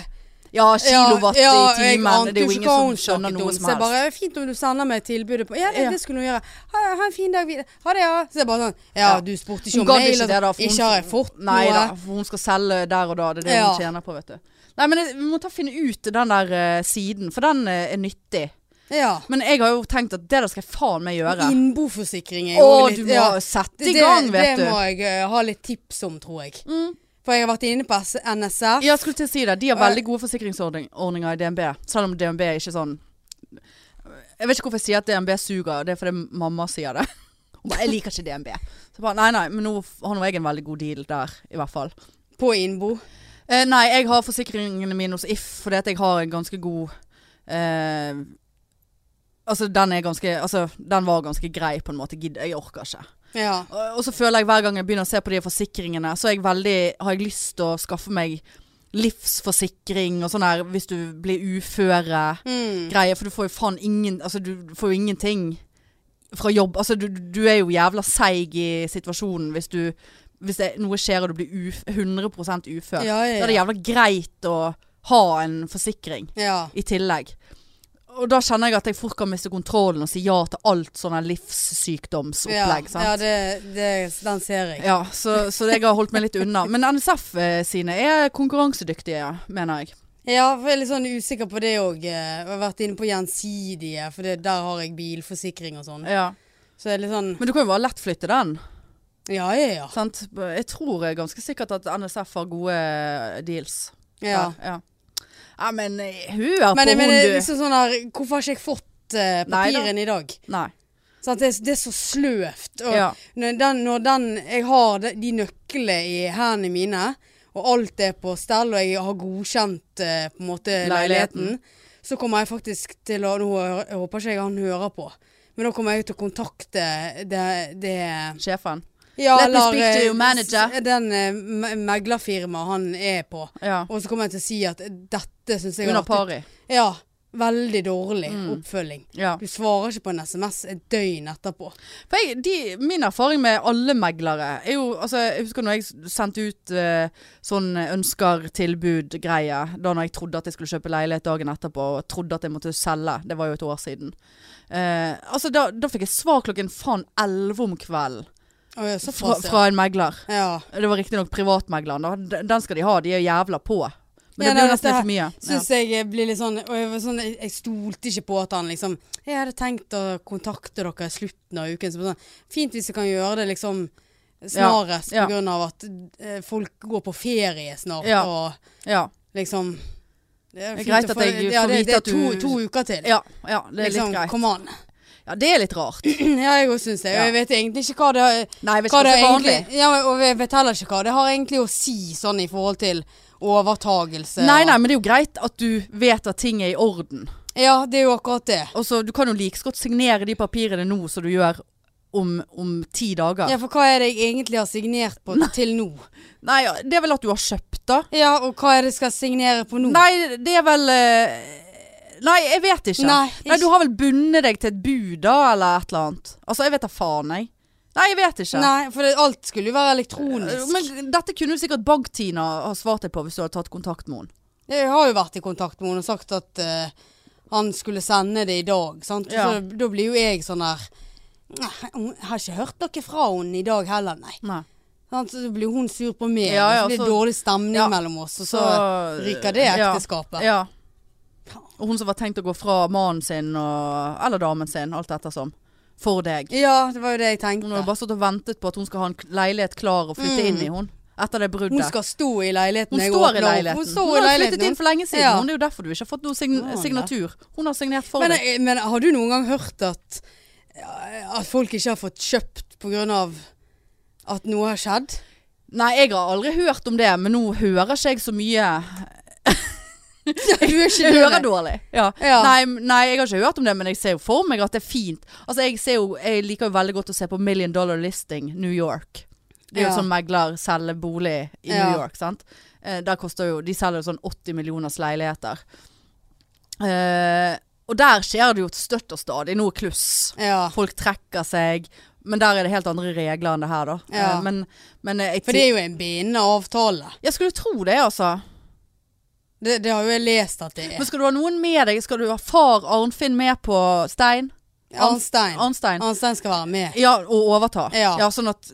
Speaker 2: Ja, kilowatt
Speaker 1: ja, ja,
Speaker 2: i
Speaker 1: jeg
Speaker 2: timen.
Speaker 1: ante
Speaker 2: Det er jo
Speaker 1: ikke
Speaker 2: ingen
Speaker 1: hva
Speaker 2: som
Speaker 1: hun
Speaker 2: skjønner
Speaker 1: snakket
Speaker 2: noe
Speaker 1: om,
Speaker 2: som
Speaker 1: så jeg
Speaker 2: helst.
Speaker 1: Bare, fint om du sender meg tilbudet på Ja, det,
Speaker 2: Ja.
Speaker 1: det skulle hun gjøre. Ha, ha en fin dag videre. Ha det, ja. Så jeg bare sånn Ja,
Speaker 2: Ja.
Speaker 1: du spurte
Speaker 2: Hun
Speaker 1: ikke om
Speaker 2: gadd
Speaker 1: mail.
Speaker 2: ikke det da. for hun-
Speaker 1: ikke har jeg fått
Speaker 2: Nei
Speaker 1: noe.
Speaker 2: da, for hun skal selge der og da. Det er det
Speaker 1: Ja.
Speaker 2: hun tjener på, vet du. Nei, men jeg, vi må ta finne ut den der eh, siden, for den eh, er nyttig.
Speaker 1: Ja.
Speaker 2: Men jeg har jo tenkt at det der skal jeg faen meg gjøre.
Speaker 1: Innboforsikring er
Speaker 2: Å,
Speaker 1: jo litt
Speaker 2: du må
Speaker 1: ja,
Speaker 2: sette
Speaker 1: det,
Speaker 2: i gang, vet
Speaker 1: det
Speaker 2: du.
Speaker 1: må jeg eh, ha litt tips om, tror jeg.
Speaker 2: Mm.
Speaker 1: For jeg har vært inne på S- NSF.
Speaker 2: Ja, skulle til å si det. De har
Speaker 1: Og jeg-
Speaker 2: veldig gode forsikringsordninger i DNB. Selv om DNB er ikke sånn Jeg vet ikke hvorfor jeg sier at DNB suger. Det er fordi mamma sier det. Hun bare 'Jeg liker ikke DNB'. Så jeg bare, nei, nei, men nå f- har nå jeg en veldig god deal der, i hvert fall.
Speaker 1: På innbo.
Speaker 2: Eh, nei, jeg har forsikringene mine hos If, fordi at jeg har en ganske god eh, Altså, den er ganske Altså, den var ganske grei, på en måte. Gidd- Jeg orker ikke.
Speaker 1: Ja.
Speaker 2: Og og så føler jeg hver gang jeg begynner å se på de forsikringene, så er jeg veldig, har jeg lyst til å skaffe meg livsforsikring og sånn her hvis du blir uføre
Speaker 1: Mm.
Speaker 2: greier, for du får jo faen ingen Altså, du får jo ingenting fra jobb. Altså, du, du er jo jævla seig i situasjonen hvis du Hvis det, noe skjer og du blir uf, 100 ufør.
Speaker 1: Ja,
Speaker 2: Da er det
Speaker 1: ja, ja.
Speaker 2: jævla greit å ha en forsikring
Speaker 1: ja.
Speaker 2: i tillegg. Og da kjenner jeg at jeg fort kan miste kontrollen og si ja til alt sånne livssykdomsopplegg. sant?
Speaker 1: Ja, ja det, det, den ser jeg.
Speaker 2: Ja, så, så jeg har holdt meg litt unna. Men NSF eh, sine er konkurransedyktige, ja, mener jeg.
Speaker 1: Ja, for jeg er litt sånn usikker på det òg. Jeg har vært inne på Gjensidige, for det, der har jeg bilforsikring og sånn. Så det er litt sånn
Speaker 2: Men du kan jo bare lettflytte den.
Speaker 1: Ja, ja, ja.
Speaker 2: Sant? Jeg tror eh, ganske sikkert at NSF har gode eh, deals.
Speaker 1: ja.
Speaker 2: ja. Ja, men eh, hør på
Speaker 1: Men, men
Speaker 2: hun,
Speaker 1: det er
Speaker 2: du.
Speaker 1: liksom sånn her Hvorfor har ikke jeg fått eh,
Speaker 2: Nei da.
Speaker 1: papirene i dag?
Speaker 2: Nei.
Speaker 1: Sant? det, er- det er så sløvt. Og
Speaker 2: Ja.
Speaker 1: når, den, når den Jeg har de, de nøklene i hendene mine, og alt er på stell, og jeg har godkjent eh, på en måte
Speaker 2: Leiligheten.
Speaker 1: leiligheten, så kommer jeg faktisk til å Nå hø- jeg håper ikke jeg han hører på. Men da kommer jeg til å kontakte det, det
Speaker 2: Sjefen.
Speaker 1: ja,
Speaker 2: Let me speak to
Speaker 1: eh,
Speaker 2: your manager.
Speaker 1: s- Den eh, me- meglerfirmaet han er på.
Speaker 2: Ja.
Speaker 1: Og så kommer jeg til å si at dette syns jeg har
Speaker 2: Under
Speaker 1: vært et
Speaker 2: pari.
Speaker 1: ja, veldig dårlig
Speaker 2: Mm.
Speaker 1: oppfølging.
Speaker 2: Ja.
Speaker 1: Du svarer ikke på en SMS et døgn etterpå.
Speaker 2: For jeg, de, min erfaring med alle meglere er jo altså, Jeg husker når jeg s- sendte ut eh, sånn ønsker-tilbud-greie. Da når jeg trodde at jeg skulle kjøpe leilighet dagen etterpå, og trodde at jeg måtte selge. Det var jo et år siden. Eh, altså, da, da fikk jeg svar klokken faen elleve om kvelden
Speaker 1: Å, ja,
Speaker 2: fra,
Speaker 1: såpass, ja.
Speaker 2: fra en megler.
Speaker 1: Ja.
Speaker 2: Det var riktignok privatmegleren, da. D- Den skal de ha, de er jævla på. Men
Speaker 1: Ja,
Speaker 2: det blir
Speaker 1: nei, dette
Speaker 2: nesten litt for mye. Ja.
Speaker 1: Syns jeg blir litt sånn, og jeg, var sånn jeg, jeg stolte ikke på at han liksom Jeg hadde tenkt å kontakte dere i slutten av uken. Så bare sånn, fint hvis jeg kan gjøre det liksom snarest,
Speaker 2: Ja, ja.
Speaker 1: på grunn av at eh, folk går på ferie snart,
Speaker 2: Ja.
Speaker 1: og
Speaker 2: ja.
Speaker 1: liksom Det
Speaker 2: Det er
Speaker 1: fint
Speaker 2: greit
Speaker 1: å
Speaker 2: at
Speaker 1: få-
Speaker 2: jeg
Speaker 1: ja,
Speaker 2: får
Speaker 1: det,
Speaker 2: vite
Speaker 1: det
Speaker 2: at
Speaker 1: er to,
Speaker 2: du-
Speaker 1: to uker til.
Speaker 2: ja. ja, det er
Speaker 1: liksom,
Speaker 2: litt greit.
Speaker 1: Kom an.
Speaker 2: Ja, det er litt rart.
Speaker 1: Ja, jeg òg syns det. Og
Speaker 2: Ja.
Speaker 1: jeg vet egentlig ikke hva det
Speaker 2: Nei, jeg vet
Speaker 1: hva
Speaker 2: ikke
Speaker 1: det
Speaker 2: hva som er vanlig.
Speaker 1: egentlig, ja, men- og jeg vet heller ikke hva det har egentlig å si sånn i forhold til overtagelse. og-
Speaker 2: Nei, nei, men det er jo greit at du vet at ting er i orden.
Speaker 1: Ja, det er jo akkurat det.
Speaker 2: Og så, Du kan jo like så godt signere de papirene nå som du gjør om, om ti dager.
Speaker 1: Ja, for hva er det jeg egentlig har signert på til nå?
Speaker 2: Nei, ja, det er vel at du har kjøpt, da.
Speaker 1: Ja, og hva er det jeg skal signere på nå?
Speaker 2: Nei, det er vel eh, Nei, jeg vet ikke.
Speaker 1: Nei, ikke-
Speaker 2: Du har vel bundet deg til et bud, da, eller et eller annet. Altså, jeg vet da faen, jeg. Nei, jeg vet ikke. Eh,
Speaker 1: Nei, for det, alt skulle jo være elektronisk.
Speaker 2: Men dette kunne jo sikkert Bank-Tina ha svart deg på hvis du hadde tatt kontakt med henne.
Speaker 1: Jeg har jo vært i kontakt med henne og sagt at eh, han skulle sende det i dag. Sant?
Speaker 2: Ja.
Speaker 1: Så da blir jo jeg sånn her «Nei, Hun har ikke hørt noe fra henne i dag heller, nei.
Speaker 2: Nei.
Speaker 1: Sant? Så blir hun sur på meg.
Speaker 2: Ja, ja,
Speaker 1: så blir det
Speaker 2: så-
Speaker 1: dårlig stemning
Speaker 2: Ja.
Speaker 1: mellom oss. Og så,
Speaker 2: Så- eh,
Speaker 1: ryker det
Speaker 2: Ja.
Speaker 1: ekteskapet.
Speaker 2: Ja. Og hun som var tenkt å gå fra mannen sin og, eller damen sin, alt ettersom, for deg.
Speaker 1: Ja, det var jo det jeg tenkte.
Speaker 2: Hun har jo bare stått og ventet på at hun skal ha en k- leilighet klar og flytte
Speaker 1: Mm.
Speaker 2: inn i hun. Etter det bruddet.
Speaker 1: Hun skal stå i leiligheten.
Speaker 2: Hun
Speaker 1: jeg
Speaker 2: står
Speaker 1: åpner
Speaker 2: i
Speaker 1: opp.
Speaker 2: leiligheten.
Speaker 1: Hun
Speaker 2: Hun,
Speaker 1: står i
Speaker 2: har
Speaker 1: leiligheten.
Speaker 2: flyttet inn for lenge siden.
Speaker 1: Ja.
Speaker 2: Hun, det er jo derfor du ikke har fått noen sign
Speaker 1: Å, nei.
Speaker 2: signatur. Hun har signert for
Speaker 1: men, eh,
Speaker 2: deg.
Speaker 1: men har du noen gang hørt at, eh, at folk ikke har fått kjøpt pga. at noe har skjedd?
Speaker 2: Nei, jeg har aldri hørt om det, men nå hører ikke jeg så mye.
Speaker 1: Du er ikke
Speaker 2: Jeg
Speaker 1: det,
Speaker 2: hører
Speaker 1: nei.
Speaker 2: dårlig. Ja.
Speaker 1: Ja.
Speaker 2: Nei, m- nei, jeg har ikke hørt om det, men jeg ser jo for meg at det er fint. Altså, jeg, ser jo, jeg liker jo veldig godt å se på Million Dollar Listing New York. Det er jo
Speaker 1: Ja.
Speaker 2: sånn megler selger bolig i
Speaker 1: Ja.
Speaker 2: New York, sant. Eh, der koster jo, de selger jo sånn 80 millioners leiligheter. Eh, og der skjer det jo støtt og stadig noe kluss.
Speaker 1: Ja.
Speaker 2: Folk trekker seg. Men der er det helt andre regler enn det her, da.
Speaker 1: Ja.
Speaker 2: Eh, Men, men eh, jeg,
Speaker 1: For det er jo en bindende avtale.
Speaker 2: jeg skulle tro det, altså.
Speaker 1: Det, det har jo jeg lest at det
Speaker 2: Men
Speaker 1: er.
Speaker 2: skal du ha noen med deg? Skal du ha far Arnfinn med på stein?
Speaker 1: Arnstein.
Speaker 2: Arnstein.
Speaker 1: Arnstein skal være med.
Speaker 2: Ja, og overta.
Speaker 1: Ja.
Speaker 2: sånn at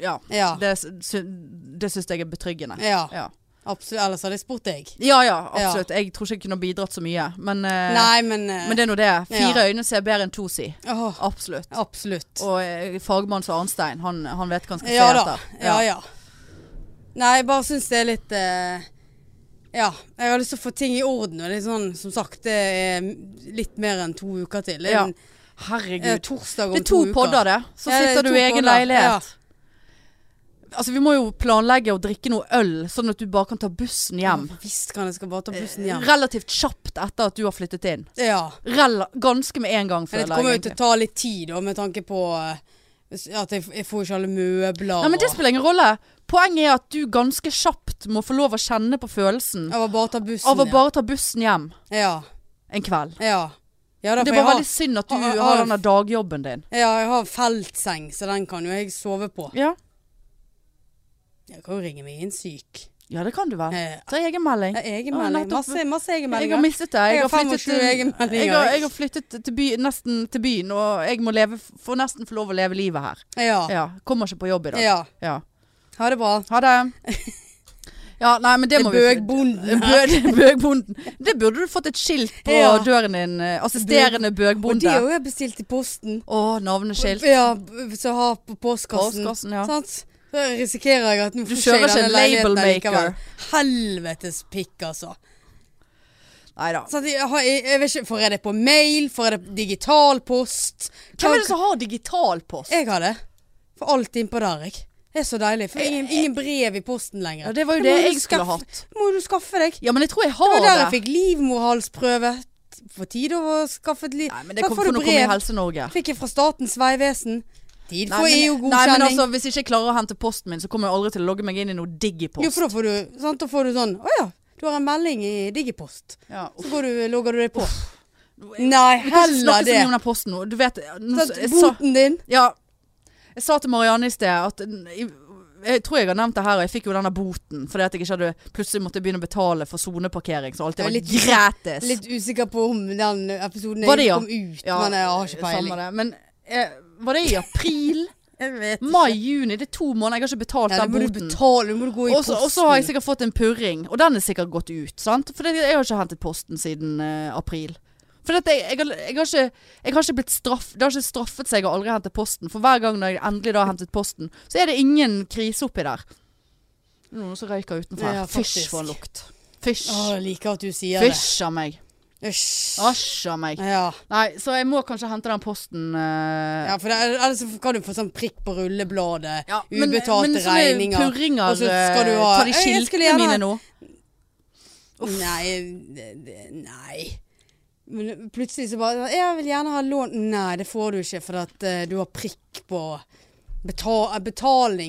Speaker 2: Ja.
Speaker 1: Ja.
Speaker 2: Det, sy- det syns jeg er betryggende.
Speaker 1: Ja.
Speaker 2: Ja.
Speaker 1: Absolutt. Ellers hadde jeg spurt deg.
Speaker 2: Ja ja, absolutt. Jeg tror ikke jeg kunne bidratt så mye. Men, eh,
Speaker 1: Nei, men, eh,
Speaker 2: men det er nå det. Fire øyne ser bedre enn to, si.
Speaker 1: åh,
Speaker 2: Absolutt.
Speaker 1: Absolutt.
Speaker 2: Og eh, fagmann som Arnstein, han, han vet hva han skal
Speaker 1: Ja
Speaker 2: se
Speaker 1: da.
Speaker 2: etter.
Speaker 1: Ja ja. Nei, jeg bare syns det er litt eh, Ja. Jeg har lyst til å få ting i orden. Og det er sånn, som sagt, det er litt mer enn to uker til. Det er
Speaker 2: Ja.
Speaker 1: en,
Speaker 2: Herregud.
Speaker 1: eh, torsdag
Speaker 2: Det
Speaker 1: om
Speaker 2: er to
Speaker 1: uker.
Speaker 2: podder, det. Så
Speaker 1: Ja, det er
Speaker 2: sitter du
Speaker 1: to
Speaker 2: i egen
Speaker 1: podder.
Speaker 2: leilighet. Altså, vi må jo planlegge å drikke noe øl, sånn at du bare kan ta bussen hjem. Eh,
Speaker 1: Visst kan jeg skal bare ta bussen hjem.
Speaker 2: Relativt kjapt etter at du har flyttet inn.
Speaker 1: Ja.
Speaker 2: Rel ganske med en gang,
Speaker 1: Men det
Speaker 2: føler
Speaker 1: kommer
Speaker 2: jeg.
Speaker 1: jo til å
Speaker 2: egentlig.
Speaker 1: ta litt tid, da, med tanke på eh, at jeg, jeg får ikke alle møbler
Speaker 2: Nei, men det
Speaker 1: og
Speaker 2: spiller ingen rolle. Poenget er at du ganske kjapt må få lov å kjenne på følelsen
Speaker 1: Jeg må bare ta bussen.
Speaker 2: av å bare ta bussen hjem
Speaker 1: ja.
Speaker 2: en kveld.
Speaker 1: ja. Ja. ja da,
Speaker 2: Det
Speaker 1: for
Speaker 2: er
Speaker 1: jeg
Speaker 2: bare
Speaker 1: har,
Speaker 2: veldig synd at du
Speaker 1: har- har-
Speaker 2: har denne dagjobben din.
Speaker 1: ja, jeg har feltseng, så den kan jo jeg sove på.
Speaker 2: Ja,
Speaker 1: Jeg kan jo ringe meg inn syk.
Speaker 2: ja det kan du vel.
Speaker 1: Eh,
Speaker 2: Ta egenmelding.
Speaker 1: Ja, Egenmelding.
Speaker 2: nettopp.
Speaker 1: Masse, masse
Speaker 2: Jeg har
Speaker 1: egenmeldinger.
Speaker 2: mistet deg. Jeg,
Speaker 1: Jeg
Speaker 2: har
Speaker 1: har
Speaker 2: flyttet
Speaker 1: 25 egenmeldinger.
Speaker 2: Jeg har, jeg har flyttet til by, nesten til byen, og jeg må leve, få nesten få lov å leve livet her.
Speaker 1: Ja.
Speaker 2: Ja, Kommer ikke på jobb i dag.
Speaker 1: ja.
Speaker 2: Ja.
Speaker 1: Ha det bra.
Speaker 2: Ha det. Ja, nei, men det,
Speaker 1: Det
Speaker 2: må
Speaker 1: er
Speaker 2: vi
Speaker 1: bøgbonden.
Speaker 2: Bø- Bøgbonden. Det burde du fått et skilt på
Speaker 1: Ja.
Speaker 2: døren din. eh, Assisterende
Speaker 1: Og det
Speaker 2: bøgbonde.
Speaker 1: har jo jeg bestilt i posten.
Speaker 2: Å, navneskilt.
Speaker 1: Ja, b- så ha på postkassen.
Speaker 2: Postkassen, ja.
Speaker 1: Sant? Så risikerer jeg at nå
Speaker 2: Du
Speaker 1: får jeg
Speaker 2: kjører
Speaker 1: denne
Speaker 2: ikke en
Speaker 1: leiligheten
Speaker 2: label
Speaker 1: allikevel.
Speaker 2: maker.
Speaker 1: Helvetes pikk, altså.
Speaker 2: Nei da.
Speaker 1: Sant, jeg, har, jeg, jeg vet ikke, Får jeg det på mail? Får jeg det på digital post?
Speaker 2: Hvem er det som har digitalpost?
Speaker 1: Jeg har det. Får alt innpå der, jeg. Det er så deilig. Får ingen, ingen brev i posten lenger.
Speaker 2: Eh, Ja, det var jo
Speaker 1: Det
Speaker 2: det
Speaker 1: må du
Speaker 2: jeg skulle
Speaker 1: skaffe-
Speaker 2: hatt.
Speaker 1: Må du skaffe deg.
Speaker 2: Ja, men jeg tror jeg
Speaker 1: Det
Speaker 2: har
Speaker 1: var der jeg
Speaker 2: det.
Speaker 1: fikk livmorhalsprøve. For tid å skaffe et liv.
Speaker 2: Nei, men det
Speaker 1: Da
Speaker 2: kom,
Speaker 1: får du
Speaker 2: kunne komme i
Speaker 1: brev.
Speaker 2: Helse-Norge.
Speaker 1: Fikk jeg fra Statens vegvesen. Tid E
Speaker 2: Nei,
Speaker 1: for
Speaker 2: men- Nei,
Speaker 1: EU-godkjenning.
Speaker 2: men altså, hvis jeg ikke klarer å hente posten min, så kommer jeg aldri til å logge meg inn i noe
Speaker 1: Jo,
Speaker 2: digipost.
Speaker 1: for da får du, sant? da får du sånn Å ja, du har en melding i Digipost.
Speaker 2: Ja,
Speaker 1: Så går du, logger du det på. Nei,
Speaker 2: Vi kan ikke
Speaker 1: heller
Speaker 2: snakke så
Speaker 1: det.
Speaker 2: mye om den posten nå. Du vet, eh, nå
Speaker 1: Sant,
Speaker 2: jeg, sa,
Speaker 1: Boten din.
Speaker 2: ja, jeg sa til Marianne i sted at n- jeg, jeg tror jeg har nevnt det her, og jeg fikk jo denne boten fordi at jeg ikke hadde plutselig måtte begynne å betale for soneparkering, som alltid
Speaker 1: Ja,
Speaker 2: var
Speaker 1: litt-
Speaker 2: gratis.
Speaker 1: Litt usikker på om den episoden
Speaker 2: Var det, ja?
Speaker 1: kom ut, men jeg har ikke
Speaker 2: samme
Speaker 1: peiling.
Speaker 2: det. Men eh, var det i april?
Speaker 1: Jeg vet ikke.
Speaker 2: Mai-juni? Det er to måneder. Jeg har ikke betalt
Speaker 1: Ja, det
Speaker 2: den
Speaker 1: må du
Speaker 2: boten.
Speaker 1: betale, du må gå i
Speaker 2: Og så-
Speaker 1: posten.
Speaker 2: Og så har jeg sikkert fått en purring, og den er sikkert gått ut. sant? For det- jeg har ikke hentet posten siden eh, april. For dette, jeg, jeg, har, jeg, har ikke, jeg har ikke blitt straff, Det har ikke straffet seg å aldri hente posten. For hver gang når jeg endelig da har hentet posten, så er det ingen krise oppi der. Det er Noen som røyker utenfor.
Speaker 1: Ja,
Speaker 2: her. Fysj,
Speaker 1: faktisk.
Speaker 2: for en lukt. Fysj.
Speaker 1: Å, jeg liker at du sier
Speaker 2: Fysj av meg.
Speaker 1: det. Hysj.
Speaker 2: Asj av meg.
Speaker 1: Ja.
Speaker 2: Nei, så jeg må kanskje hente den posten eh,
Speaker 1: Ja, for det, er- ellers så kan du få sånn prikk på rullebladet,
Speaker 2: ja, men-
Speaker 1: ubetalte
Speaker 2: men sånne
Speaker 1: regninger.
Speaker 2: Purringer,
Speaker 1: og så skal du
Speaker 2: eh,
Speaker 1: ha-
Speaker 2: Tar de
Speaker 1: Jeg- jeg skulle
Speaker 2: skiltene
Speaker 1: gjerne-
Speaker 2: mine nå?
Speaker 1: Nei, det, det, nei. Men plutselig så bare Jeg vil gjerne ha lån. Nei, det får du ikke, for at eh, du har prikk på betal, eh,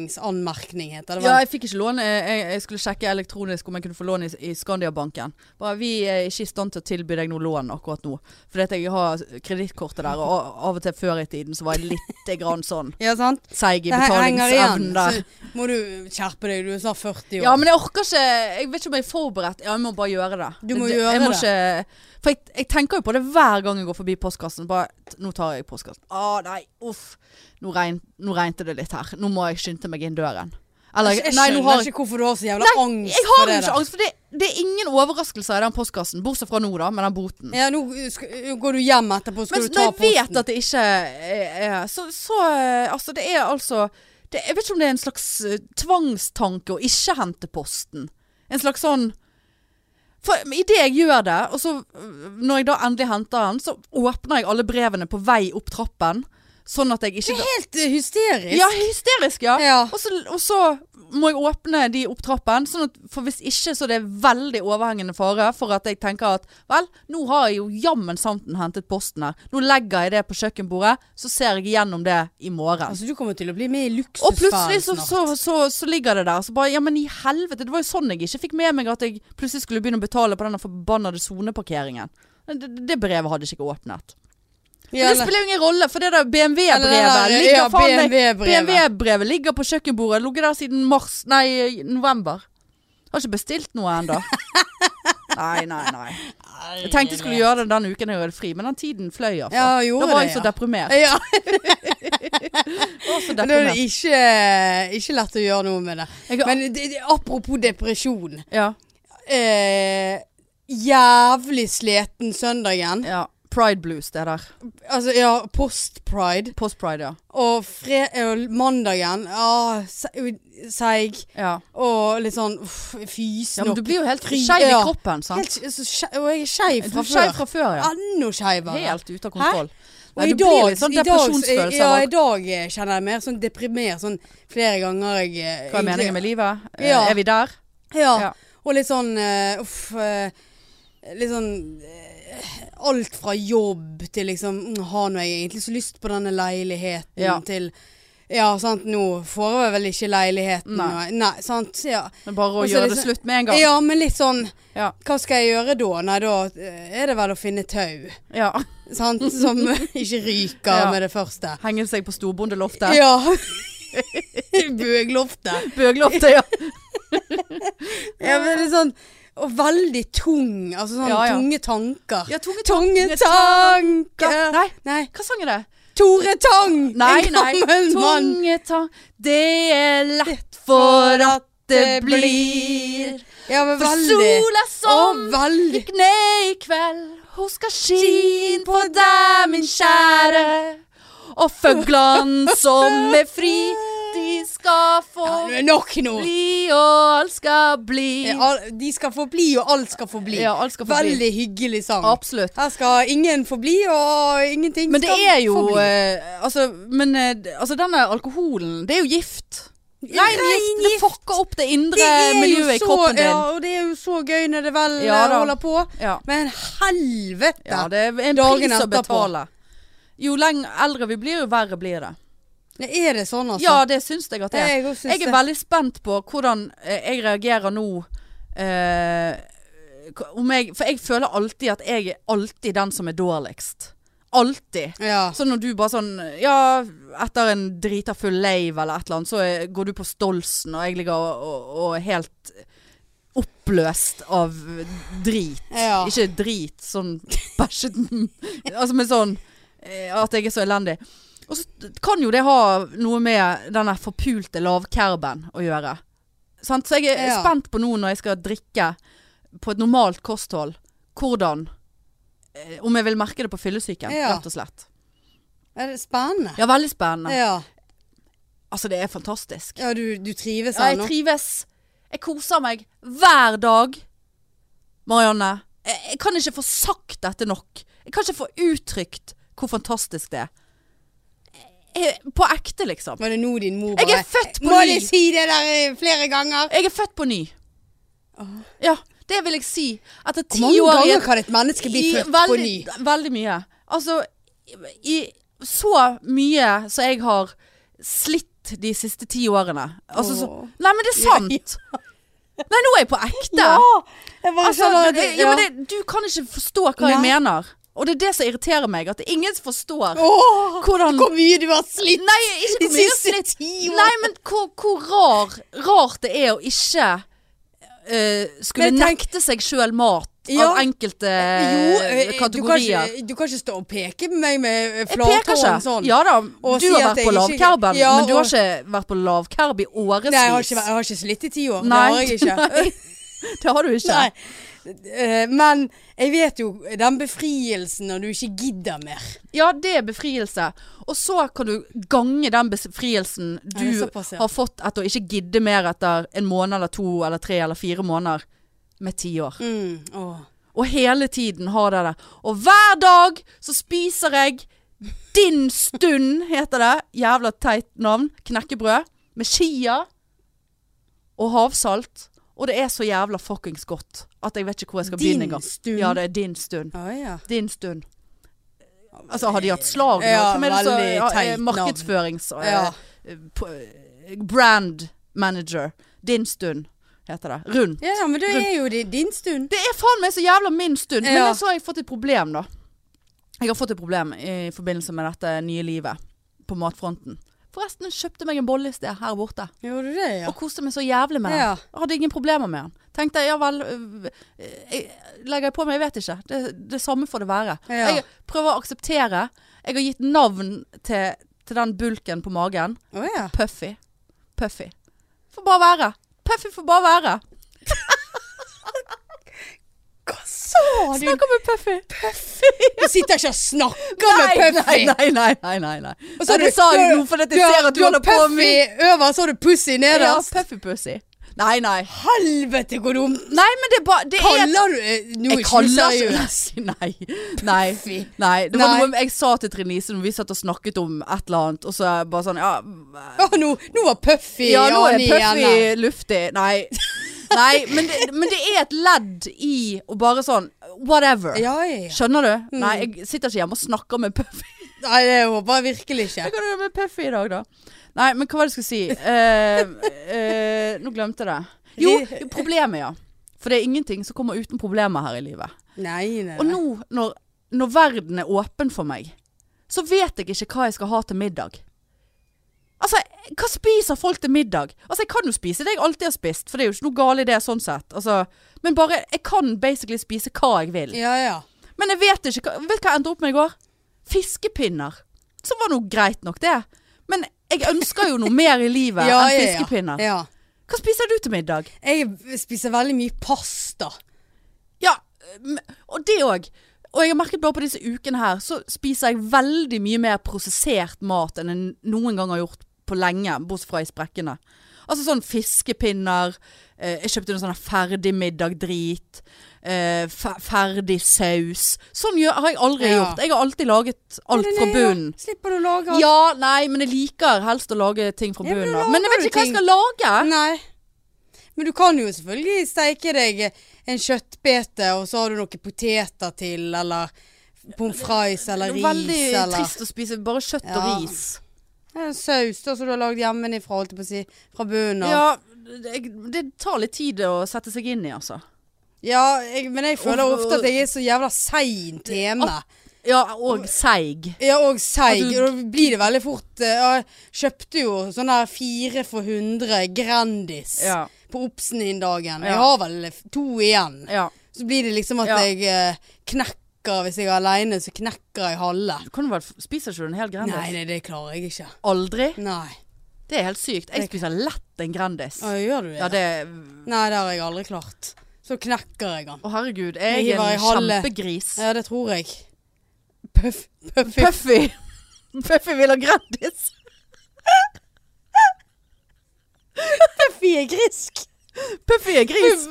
Speaker 1: betalingsanmerkning, heter det
Speaker 2: Ja,
Speaker 1: vel.
Speaker 2: jeg fikk ikke lån. Jeg, jeg- jeg skulle sjekke elektronisk om jeg kunne få lån i, i Skandiabanken. Bare, vi er ikke i stand til å tilby deg noe lån akkurat nå. Fordi at jeg har kredittkortet der, og a- av og til før i tiden så var jeg lite grann sånn
Speaker 1: Ja, sant?
Speaker 2: seig i
Speaker 1: Det he- henger igjen.
Speaker 2: betalingsevnen der.
Speaker 1: Så må du skjerpe deg. Du er snart 40 år.
Speaker 2: Ja, men jeg orker ikke Jeg vet ikke om jeg er forberedt. Ja, jeg må bare gjøre det.
Speaker 1: Du må
Speaker 2: Det-
Speaker 1: gjøre
Speaker 2: jeg må
Speaker 1: det.
Speaker 2: Ikke, for jeg, jeg tenker jo på det hver gang jeg går forbi postkassen. Bare t- Nå tar jeg postkassen. Å nei, uff. Nå, regn, nå regnet det litt her. Nå må jeg skynde meg inn døren. Eller
Speaker 1: jeg, jeg
Speaker 2: altså, nei, nå
Speaker 1: skjønner
Speaker 2: har
Speaker 1: ikke hvorfor du har så jævla
Speaker 2: Nei,
Speaker 1: angst
Speaker 2: Jeg har
Speaker 1: for det.
Speaker 2: jo ikke angst, for det, det er ingen overraskelser i den postkassen, bortsett fra nå, da, med den boten.
Speaker 1: Ja, nå sk går du hjem etterpå, skal du
Speaker 2: Men
Speaker 1: ta
Speaker 2: når jeg vet at det ikke er er- Så, så eh, altså, det er altså det, Jeg vet ikke om det er en slags eh, tvangstanke å ikke hente posten. En slags sånn For idet jeg gjør det, og så eh, når jeg da endelig henter den, så åpner jeg alle brevene på vei opp trappen, sånn at jeg ikke
Speaker 1: Helt eh, hysterisk.
Speaker 2: Ja, hysterisk, ja.
Speaker 1: Ja.
Speaker 2: Og, så, og så må jeg åpne de opp trappen, sånn at, for hvis ikke så er det veldig overhengende fare for at jeg tenker at vel, nå har jeg jo jammen santen hentet posten her. Nå legger jeg det på kjøkkenbordet, så ser jeg igjennom det i morgen.
Speaker 1: Altså, du kommer til å bli med i
Speaker 2: Og
Speaker 1: luksussfæren
Speaker 2: plutselig så, så, så, så ligger det der. Så bare, ja, men i helvete. Det var jo sånn jeg ikke fikk med meg at jeg plutselig skulle begynne å betale på denne forbannede soneparkeringen. Det, det brevet hadde ikke jeg åpnet.
Speaker 1: Ja,
Speaker 2: Men det
Speaker 1: eller-
Speaker 2: spiller jo ingen rolle, for det der
Speaker 1: Eller det der,
Speaker 2: BMW-brevet
Speaker 1: ja,
Speaker 2: ligger faen meg
Speaker 1: BMW-brevet.
Speaker 2: BMW-brevet ligger på kjøkkenbordet. Ligger der siden mars Nei, november. Har ikke bestilt noe ennå. nei, nei, nei. Jeg tenkte jeg skulle gjøre det den uken jeg hadde fri, men den tiden fløy. Altså.
Speaker 1: Ja, gjorde
Speaker 2: da var
Speaker 1: det,
Speaker 2: jeg så
Speaker 1: ja.
Speaker 2: deprimert.
Speaker 1: Ja.
Speaker 2: Også
Speaker 1: Men da er det ikke, ikke lett å gjøre noe med det.
Speaker 2: Jeg har-
Speaker 1: Men det, det, apropos depresjon.
Speaker 2: ja,
Speaker 1: Eh, jævlig sliten søndagen.
Speaker 2: ja. Pride blues, det der.
Speaker 1: Altså, ja, post-pride.
Speaker 2: Post-pride, ja.
Speaker 1: Og fre og mandagen, ja, se- seig.
Speaker 2: ja.
Speaker 1: Og litt sånn uff, fysen
Speaker 2: Ja, men du blir jo helt
Speaker 1: Fri-
Speaker 2: skeiv i
Speaker 1: ja.
Speaker 2: kroppen, sant?
Speaker 1: Helt sk- så skje- Og jeg er skeiv
Speaker 2: Du
Speaker 1: fra
Speaker 2: er skeiv
Speaker 1: før.
Speaker 2: fra før, ja.
Speaker 1: Enda skeivere.
Speaker 2: Helt ute av kontroll.
Speaker 1: Og
Speaker 2: Nei,
Speaker 1: i
Speaker 2: du blir
Speaker 1: dag,
Speaker 2: litt sånn
Speaker 1: i dag så-
Speaker 2: depresjonsfølelse
Speaker 1: ja,
Speaker 2: av
Speaker 1: i dag eh, kjenner jeg mer sånn deprimert. Sånn flere ganger jeg eh,
Speaker 2: hva er meningen
Speaker 1: egentlig-
Speaker 2: med livet? Eh,
Speaker 1: Ja.
Speaker 2: Er vi der?
Speaker 1: Ja.
Speaker 2: Ja.
Speaker 1: Og litt sånn eh, uff eh, Litt sånn eh, Alt fra jobb til liksom mm, Har nå jeg egentlig så lyst på denne leiligheten
Speaker 2: Ja.
Speaker 1: til Ja, sant, nå får jeg vel ikke leiligheten.
Speaker 2: Nei.
Speaker 1: og- Nei sant. Ja.
Speaker 2: Det er bare å
Speaker 1: Og så er
Speaker 2: gjøre
Speaker 1: det
Speaker 2: det
Speaker 1: så-
Speaker 2: slutt med en gang.
Speaker 1: ja, men litt sånn
Speaker 2: Ja.
Speaker 1: Hva skal jeg gjøre da? Nei, da eh, er det vel å finne tau.
Speaker 2: Ja.
Speaker 1: Sant? Som ikke ryker
Speaker 2: Ja.
Speaker 1: med det første.
Speaker 2: Henge seg på storbondeloftet.
Speaker 1: Ja. Bøgloftet.
Speaker 2: Bøgloftet, ja.
Speaker 1: Ja, men det er sånn Og veldig tung. Altså sånn
Speaker 2: Ja, ja.
Speaker 1: tunge tanker.
Speaker 2: ja tunge
Speaker 1: Tunge
Speaker 2: tunge tanker.
Speaker 1: tanker
Speaker 2: Nei,
Speaker 1: Nei.
Speaker 2: hva sang er det?
Speaker 1: Tore Tang!
Speaker 2: Nei,
Speaker 1: en
Speaker 2: nei.
Speaker 1: gammel mann.
Speaker 2: Tunge tang... Det er lett for at det blir
Speaker 1: Ja, men
Speaker 2: For
Speaker 1: veldig.
Speaker 2: sola
Speaker 1: Og
Speaker 2: som
Speaker 1: veldig
Speaker 2: gikk ned i kveld, hun skal skin på deg, min kjære. Og føglene som er fri, de skal få
Speaker 1: ja, det er Nok nå!
Speaker 2: bli, og alt skal bli.
Speaker 1: Ja, al- De skal få bli, og alt skal få bli.
Speaker 2: Ja, alt skal få bli.
Speaker 1: Veldig hyggelig sang.
Speaker 2: Absolutt.
Speaker 1: Her skal ingen få bli, og ingenting
Speaker 2: Men det
Speaker 1: skal
Speaker 2: er jo
Speaker 1: få bli.
Speaker 2: eh, altså, Men eh, d- altså, denne alkoholen, det er jo gift.
Speaker 1: Rein
Speaker 2: Rein gift. Det
Speaker 1: gift.
Speaker 2: fucker opp det
Speaker 1: Det
Speaker 2: indre
Speaker 1: er jo
Speaker 2: miljøet i
Speaker 1: så-
Speaker 2: kroppen
Speaker 1: Ja,
Speaker 2: din.
Speaker 1: og det er jo så gøy når det vel
Speaker 2: Ja
Speaker 1: eh,
Speaker 2: da.
Speaker 1: holder på.
Speaker 2: Ja.
Speaker 1: Men helvete!
Speaker 2: Ja, det er en
Speaker 1: Dagen
Speaker 2: pris å
Speaker 1: etterpå.
Speaker 2: betale. Jo lenger eldre vi blir, jo verre blir det.
Speaker 1: det, er det sånn, altså?
Speaker 2: Ja, det syns jeg at det er.
Speaker 1: jeg, også synes
Speaker 2: Jeg er veldig spent på hvordan eh, jeg reagerer nå. eh, k- om jeg, for jeg føler alltid at jeg er alltid den som er dårligst. Alltid.
Speaker 1: det. Ja.
Speaker 2: Så når du bare sånn Ja, etter en drita full lave eller et eller annet, så eh, går du på Stolsen, og jeg ligger og, og, og er helt oppløst av drit.
Speaker 1: Ja.
Speaker 2: Ikke drit, sånn bæsjet Altså, men sånn eh, At jeg er så elendig. Og så kan jo det ha noe med den der forpulte lavkerben å gjøre. Sant? Så jeg er
Speaker 1: Ja.
Speaker 2: spent på nå når jeg skal drikke på et normalt kosthold, hvordan eh, Om jeg vil merke det på fyllesyken,
Speaker 1: Ja.
Speaker 2: rett og slett.
Speaker 1: Er det spennende?
Speaker 2: Ja, veldig spennende.
Speaker 1: Ja.
Speaker 2: Altså, det er fantastisk. Altså,
Speaker 1: Ja, du, du trives
Speaker 2: Ja,
Speaker 1: her
Speaker 2: jeg
Speaker 1: nå?
Speaker 2: trives. Jeg koser meg hver dag. Marianne, jeg, jeg kan ikke få sagt dette nok. Jeg kan ikke få uttrykt hvor fantastisk det er. Jeg, på ekte, liksom.
Speaker 1: Var det nå din mor
Speaker 2: Jeg
Speaker 1: bare
Speaker 2: er født på
Speaker 1: Må
Speaker 2: ny.
Speaker 1: de si det der eh, flere ganger?
Speaker 2: Jeg er født på ny. Ja, det vil jeg si. Etter ti
Speaker 1: Hvor mange
Speaker 2: år i
Speaker 1: ganger
Speaker 2: et-
Speaker 1: kan et menneske bli
Speaker 2: i
Speaker 1: født på ny?
Speaker 2: veldig, Veldig mye. Altså, i så mye som jeg har slitt de siste ti årene. Altså, så,
Speaker 1: Åh.
Speaker 2: nei, men det er sant! Nei, nå er jeg på ekte.
Speaker 1: Jeg bare
Speaker 2: altså,
Speaker 1: skjønner at
Speaker 2: det,
Speaker 1: det-
Speaker 2: ja, men
Speaker 1: ja.
Speaker 2: det, du kan ikke forstå hva jeg
Speaker 1: Nei.
Speaker 2: mener. Og det er det som irriterer meg. At ingen forstår
Speaker 1: Åh,
Speaker 2: hvordan
Speaker 1: Hvor mye du har slitt
Speaker 2: Nei, ikke
Speaker 1: de
Speaker 2: hvor mye jeg har
Speaker 1: siste
Speaker 2: slitt.
Speaker 1: ti år!
Speaker 2: Nei, men hvor, hvor rar, rart det er å ikke eh, skulle
Speaker 1: Men tenk-
Speaker 2: nekte seg sjøl mat
Speaker 1: Ja.
Speaker 2: av enkelte
Speaker 1: Jo, eh, du kan,
Speaker 2: kategorier.
Speaker 1: ikke, du kan ikke stå og peke på meg med eh,
Speaker 2: Jeg peker ikke.
Speaker 1: flathånd sånn.
Speaker 2: Ja da,
Speaker 1: Og
Speaker 2: du
Speaker 1: si
Speaker 2: har
Speaker 1: at
Speaker 2: vært
Speaker 1: jeg
Speaker 2: på
Speaker 1: ikke-
Speaker 2: lavkerben,
Speaker 1: Ja,
Speaker 2: men du
Speaker 1: og-
Speaker 2: har ikke vært på lavkerb i
Speaker 1: Nei,
Speaker 2: årevis.
Speaker 1: jeg har, ikke, vært- jeg har ikke slitt i ti år.
Speaker 2: Nei.
Speaker 1: Det har jeg ikke.
Speaker 2: Det har du ikke.
Speaker 1: Nei. Eh, Men jeg vet jo den befrielsen når du ikke gidder mer.
Speaker 2: Ja, det er befrielse. Og så kan du gange den befrielsen
Speaker 1: Ja, det er
Speaker 2: du
Speaker 1: såpass, ja.
Speaker 2: har fått etter å ikke gidde mer etter en måned eller to eller tre eller fire måneder, med ti år.
Speaker 1: Mm, åh.
Speaker 2: Og hele tiden har det det. Og hver dag så spiser jeg Din stund, heter det. Jævla teit navn. Knekkebrød. Med chia og havsalt. Og det er så jævla fuckings godt at jeg vet ikke hvor jeg skal
Speaker 1: Din
Speaker 2: begynne engang.
Speaker 1: stund?
Speaker 2: Ja, det er din stund.
Speaker 1: Å ja.
Speaker 2: Din stund. Altså, har de hatt slag nå?
Speaker 1: Ja,
Speaker 2: Hvem er det som-
Speaker 1: veldig
Speaker 2: ja,
Speaker 1: teit
Speaker 2: eh,
Speaker 1: navn.
Speaker 2: Markedsførings... eh,
Speaker 1: Ja.
Speaker 2: eh, på- eh, Brand manager. Din stund, heter det. Rundt.
Speaker 1: ja, men da er jo det din stund.
Speaker 2: Det er faen meg så jævla min stund. Men
Speaker 1: Ja.
Speaker 2: jeg så har jeg fått et problem, da. Jeg har fått et problem i forbindelse med dette nye livet på matfronten. Forresten, jeg kjøpte meg en bolle i sted her borte.
Speaker 1: Gjorde du det, ja?
Speaker 2: Og koste meg så jævlig med den.
Speaker 1: Ja.
Speaker 2: Jeg Hadde ingen problemer med den. Tenkte ja vel øh, jeg Legger jeg på meg, jeg vet ikke. Det, det samme får det være.
Speaker 1: Ja.
Speaker 2: Jeg prøver å akseptere. Jeg har gitt navn til til den bulken på magen.
Speaker 1: Å ja.
Speaker 2: Puffy. Puffy. Får bare være. Puffy får bare være.
Speaker 1: Hva sa du?
Speaker 2: Snakker med Puffy.
Speaker 1: Du sitter ikke og snakker med Puffy.
Speaker 2: Nei, nei, nei. nei, nei.
Speaker 1: Og så har
Speaker 2: Nei, det
Speaker 1: du-
Speaker 2: sa jeg
Speaker 1: du-
Speaker 2: nå fordi at
Speaker 1: du
Speaker 2: jeg
Speaker 1: har-
Speaker 2: ser at du
Speaker 1: har
Speaker 2: holder på
Speaker 1: Puffy
Speaker 2: med
Speaker 1: over, så har du Pussy
Speaker 2: Ja,
Speaker 1: nederst.
Speaker 2: Puffy-pussy. Nei, nei.
Speaker 1: Helvete, hvor dumt.
Speaker 2: Nei, men det er bare det er
Speaker 1: Kaller du eh, Nå er ikke
Speaker 2: Jeg
Speaker 1: du
Speaker 2: kaller
Speaker 1: seriøs.
Speaker 2: ikke Nei. Nei.
Speaker 1: Puffy.
Speaker 2: nei. Det var
Speaker 1: Nei.
Speaker 2: noe jeg sa til Trine Lise når vi satt og snakket om et eller annet, og så er jeg bare sånn Ja,
Speaker 1: Å, nå, nå var Puffy
Speaker 2: ja nå er
Speaker 1: Jani
Speaker 2: Puffy
Speaker 1: igjen.
Speaker 2: luftig. Nei. Nei, men det, men det er et ledd i å bare sånn Whatever.
Speaker 1: Ja, ja. ja.
Speaker 2: Skjønner du? Nei, jeg sitter ikke hjemme og snakker med Puffy.
Speaker 1: Nei, det håper jeg virkelig ikke.
Speaker 2: Hva kan du gjøre med Puffy i dag, da? Nei, men hva var det jeg skulle si? Eh, eh, nå glemte jeg det. Jo, jo, problemet, ja. For det er ingenting som kommer uten problemer her i livet.
Speaker 1: Nei, nei.
Speaker 2: Og nå, når, når verden er åpen for meg, så vet jeg ikke hva jeg skal ha til middag. Altså, hva spiser folk til middag? Altså, jeg kan jo spise det jeg alltid har spist, for det er jo ikke noe galt i det sånn sett. Altså, men bare, jeg kan basically spise hva jeg vil.
Speaker 1: Ja, ja.
Speaker 2: Men jeg vet ikke hva, Vet du hva jeg endte opp med i går? Fiskepinner. Som var noe greit nok, det. Men jeg ønsker jo noe mer i livet
Speaker 1: ja,
Speaker 2: enn
Speaker 1: ja,
Speaker 2: fiskepinner.
Speaker 1: Ja.
Speaker 2: Hva spiser du til middag?
Speaker 1: Jeg spiser veldig mye pasta.
Speaker 2: Ja, m- og det òg. Og jeg har merket bare på disse ukene her, så spiser jeg veldig mye mer prosessert mat enn jeg noen gang har gjort på lenge, bortsett fra i sprekkene. Altså sånn fiskepinner, eh, jeg kjøpte noe sånn her ferdigmiddag-drit, eh, fe- ferdig saus. Sånn gjør, har jeg aldri
Speaker 1: Ja.
Speaker 2: gjort. Jeg har alltid laget alt fra
Speaker 1: Nei, ja.
Speaker 2: bunnen.
Speaker 1: Slipper du å lage alt?
Speaker 2: Ja, nei, men jeg liker helst å lage ting fra
Speaker 1: Ja, men
Speaker 2: bunnen
Speaker 1: da
Speaker 2: av. Men jeg
Speaker 1: lager
Speaker 2: vet
Speaker 1: du
Speaker 2: ikke hva jeg skal lage.
Speaker 1: Nei. Men du kan jo selvfølgelig steike deg en kjøttbete, og så har du noen poteter til, eller pommes frites, eller
Speaker 2: Det
Speaker 1: ris,
Speaker 2: er veldig
Speaker 1: eller
Speaker 2: trist å spise bare kjøtt
Speaker 1: Ja.
Speaker 2: og ris.
Speaker 1: Ja, saus da, som du har lagd hjemmefra, holdt jeg på å si. Fra bunnen av. Ja,
Speaker 2: Ja, det, det tar litt tid å sette seg inn i, altså.
Speaker 1: jeg, men jeg føler
Speaker 2: Og-
Speaker 1: ofte at jeg er så jævla seint hjemme.
Speaker 2: Ja, og seig.
Speaker 1: Ja, og seig.
Speaker 2: At
Speaker 1: Og
Speaker 2: du-
Speaker 1: da blir det veldig fort eh, ja, Jeg kjøpte jo sånn der fire for 100 Grandis
Speaker 2: Ja.
Speaker 1: på Obsen den dagen.
Speaker 2: Ja.
Speaker 1: Jeg har vel to igjen.
Speaker 2: ja.
Speaker 1: Så blir det liksom at
Speaker 2: Ja.
Speaker 1: jeg eh, knekker Hvis jeg er aleine, så knekker jeg halve.
Speaker 2: Du kan jo vel spiser ikke du en hel Grandis?
Speaker 1: Nei, nei, det klarer jeg ikke.
Speaker 2: Aldri?
Speaker 1: Nei.
Speaker 2: Det er helt sykt. Jeg spiser lett en Grandis.
Speaker 1: Ja, gjør du det?
Speaker 2: Ja, det
Speaker 1: Nei, det har jeg aldri klart. Så knekker jeg den.
Speaker 2: Å, herregud.
Speaker 1: Jeg
Speaker 2: Jeg er
Speaker 1: hiver i
Speaker 2: en
Speaker 1: halve.
Speaker 2: kjempegris.
Speaker 1: Ja, det tror jeg. Puff, puffy.
Speaker 2: Puffy. Puffy vil ha Grandis.
Speaker 1: Puffy er grisk.
Speaker 2: Puffy er gris.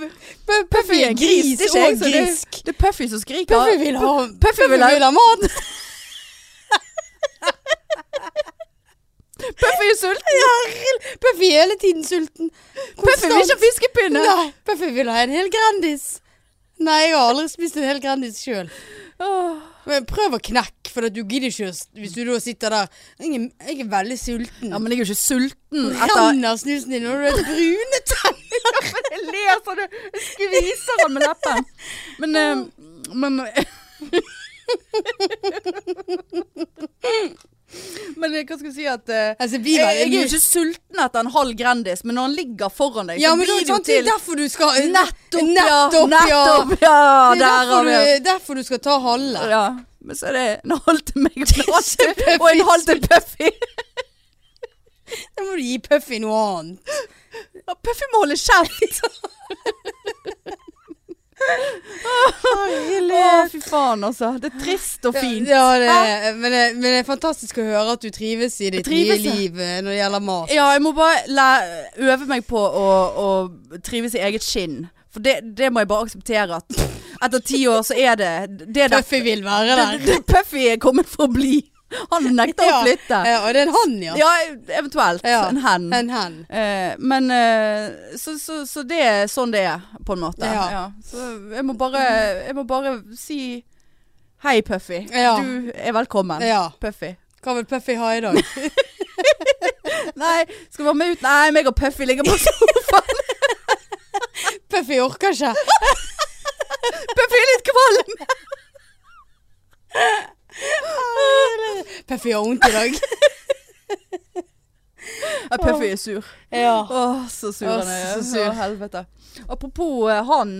Speaker 1: Puffy er gris,
Speaker 2: Det er ikke jeg
Speaker 1: og
Speaker 2: som det-
Speaker 1: grisk.
Speaker 2: Det er Puffy som skriker.
Speaker 1: Puffy vil ha,
Speaker 2: Puffy vil ha-
Speaker 1: mat.
Speaker 2: Puffy er sulten.
Speaker 1: Puffy er hele tiden sulten.
Speaker 2: Puffy vil ikke ha fiskepinne.
Speaker 1: Nei, Puffy vil ha en hel Grandis. Nei, jeg har aldri spist en hel Grandis sjøl.
Speaker 2: Åh.
Speaker 1: Men prøv å knekke, for at du gidder ikke å s- hvis du da sitter der. Jeg er, jeg er veldig sulten.
Speaker 2: Ja, men jeg er jo ikke sulten etter
Speaker 1: Renner snusen din, og du er brune tenner.
Speaker 2: Jeg ler sånn, jeg skviser han med leppen. Men, eh, men Men eh, hva skal jeg si at eh,
Speaker 1: Altså, det
Speaker 2: jeg,
Speaker 1: blir
Speaker 2: jeg er
Speaker 1: veldig
Speaker 2: jo ikke sulten etter en halv Grandis, men når han ligger foran deg,
Speaker 1: Ja,
Speaker 2: så
Speaker 1: men det
Speaker 2: blir
Speaker 1: er
Speaker 2: det jo
Speaker 1: sant, det er
Speaker 2: til
Speaker 1: derfor du skal
Speaker 2: sånn Nettopp, ja!
Speaker 1: nettopp, ja.
Speaker 2: Nettopp, ja!
Speaker 1: Det er
Speaker 2: Der har
Speaker 1: derfor,
Speaker 2: vi det.
Speaker 1: du, derfor du skal ta halve.
Speaker 2: Ja. Men så er det en halv til meg og en halv til- og en halv til Puffy.
Speaker 1: Da må du gi Puffy noe annet.
Speaker 2: Ja, Puffy må holde kjeft. Å, fy faen, altså. Det er trist og fint.
Speaker 1: Ja, det, er- men, det, men det er fantastisk å høre at du trives i ditt nye
Speaker 2: trives, ja.
Speaker 1: liv eh, når det gjelder mat.
Speaker 2: Ja, jeg må bare læ- øve meg på å, å trives i eget skinn. For det, det må jeg bare akseptere at etter ti år så er det Det der
Speaker 1: Puffy vil være
Speaker 2: det,
Speaker 1: der.
Speaker 2: det, Puffy er kommet for å bli. Han nekter å flytte.
Speaker 1: Ja, og det er en han, ja.
Speaker 2: Ja, eventuelt.
Speaker 1: Ja.
Speaker 2: En hen.
Speaker 1: En hen.
Speaker 2: Eh, men eh, så, så, så det er sånn det er, på en måte.
Speaker 1: Ja.
Speaker 2: Så jeg må bare, jeg må bare si Hei, Puffy.
Speaker 1: Ja.
Speaker 2: Du er velkommen.
Speaker 1: Ja.
Speaker 2: Puffy.
Speaker 1: Hva vil Puffy ha i dag?
Speaker 2: Nei, skal du være med ut? Nei, meg og Puffy ligger på
Speaker 1: Puffy orker ikke.
Speaker 2: Puffy er litt kvalm.
Speaker 1: Puffy har vondt i dag.
Speaker 2: Ja, Puffy er sur.
Speaker 1: Ja.
Speaker 2: Åh, så sur
Speaker 1: Åh,
Speaker 2: han er.
Speaker 1: så sur.
Speaker 2: Å, helvete. Apropos eh, han.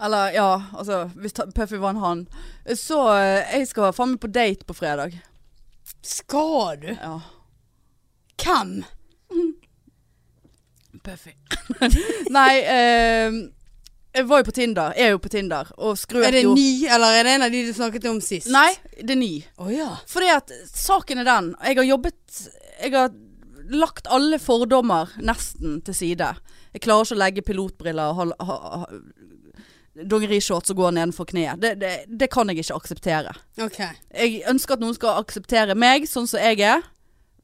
Speaker 2: Eller ja, altså hvis ta- Puffy var en han. Så eh, jeg skal faen meg på date på fredag.
Speaker 1: Skal du?
Speaker 2: Ja.
Speaker 1: Hvem?
Speaker 2: Buffy. Nei, eh, jeg var jo på Tinder. Jeg er jo på Tinder. Og skrøt
Speaker 1: Er det
Speaker 2: jo
Speaker 1: ny, eller er det en av de du snakket om sist?
Speaker 2: Nei, det er ny.
Speaker 1: Å ja.
Speaker 2: Fordi at saken er den. Jeg har jobbet Jeg har lagt alle fordommer nesten til side. Jeg klarer ikke å legge pilotbriller og hal- ha- ha- dongerishorts og gå nedenfor kneet. Det, det, det kan jeg ikke akseptere.
Speaker 1: OK.
Speaker 2: Jeg ønsker at noen skal akseptere meg sånn som jeg er.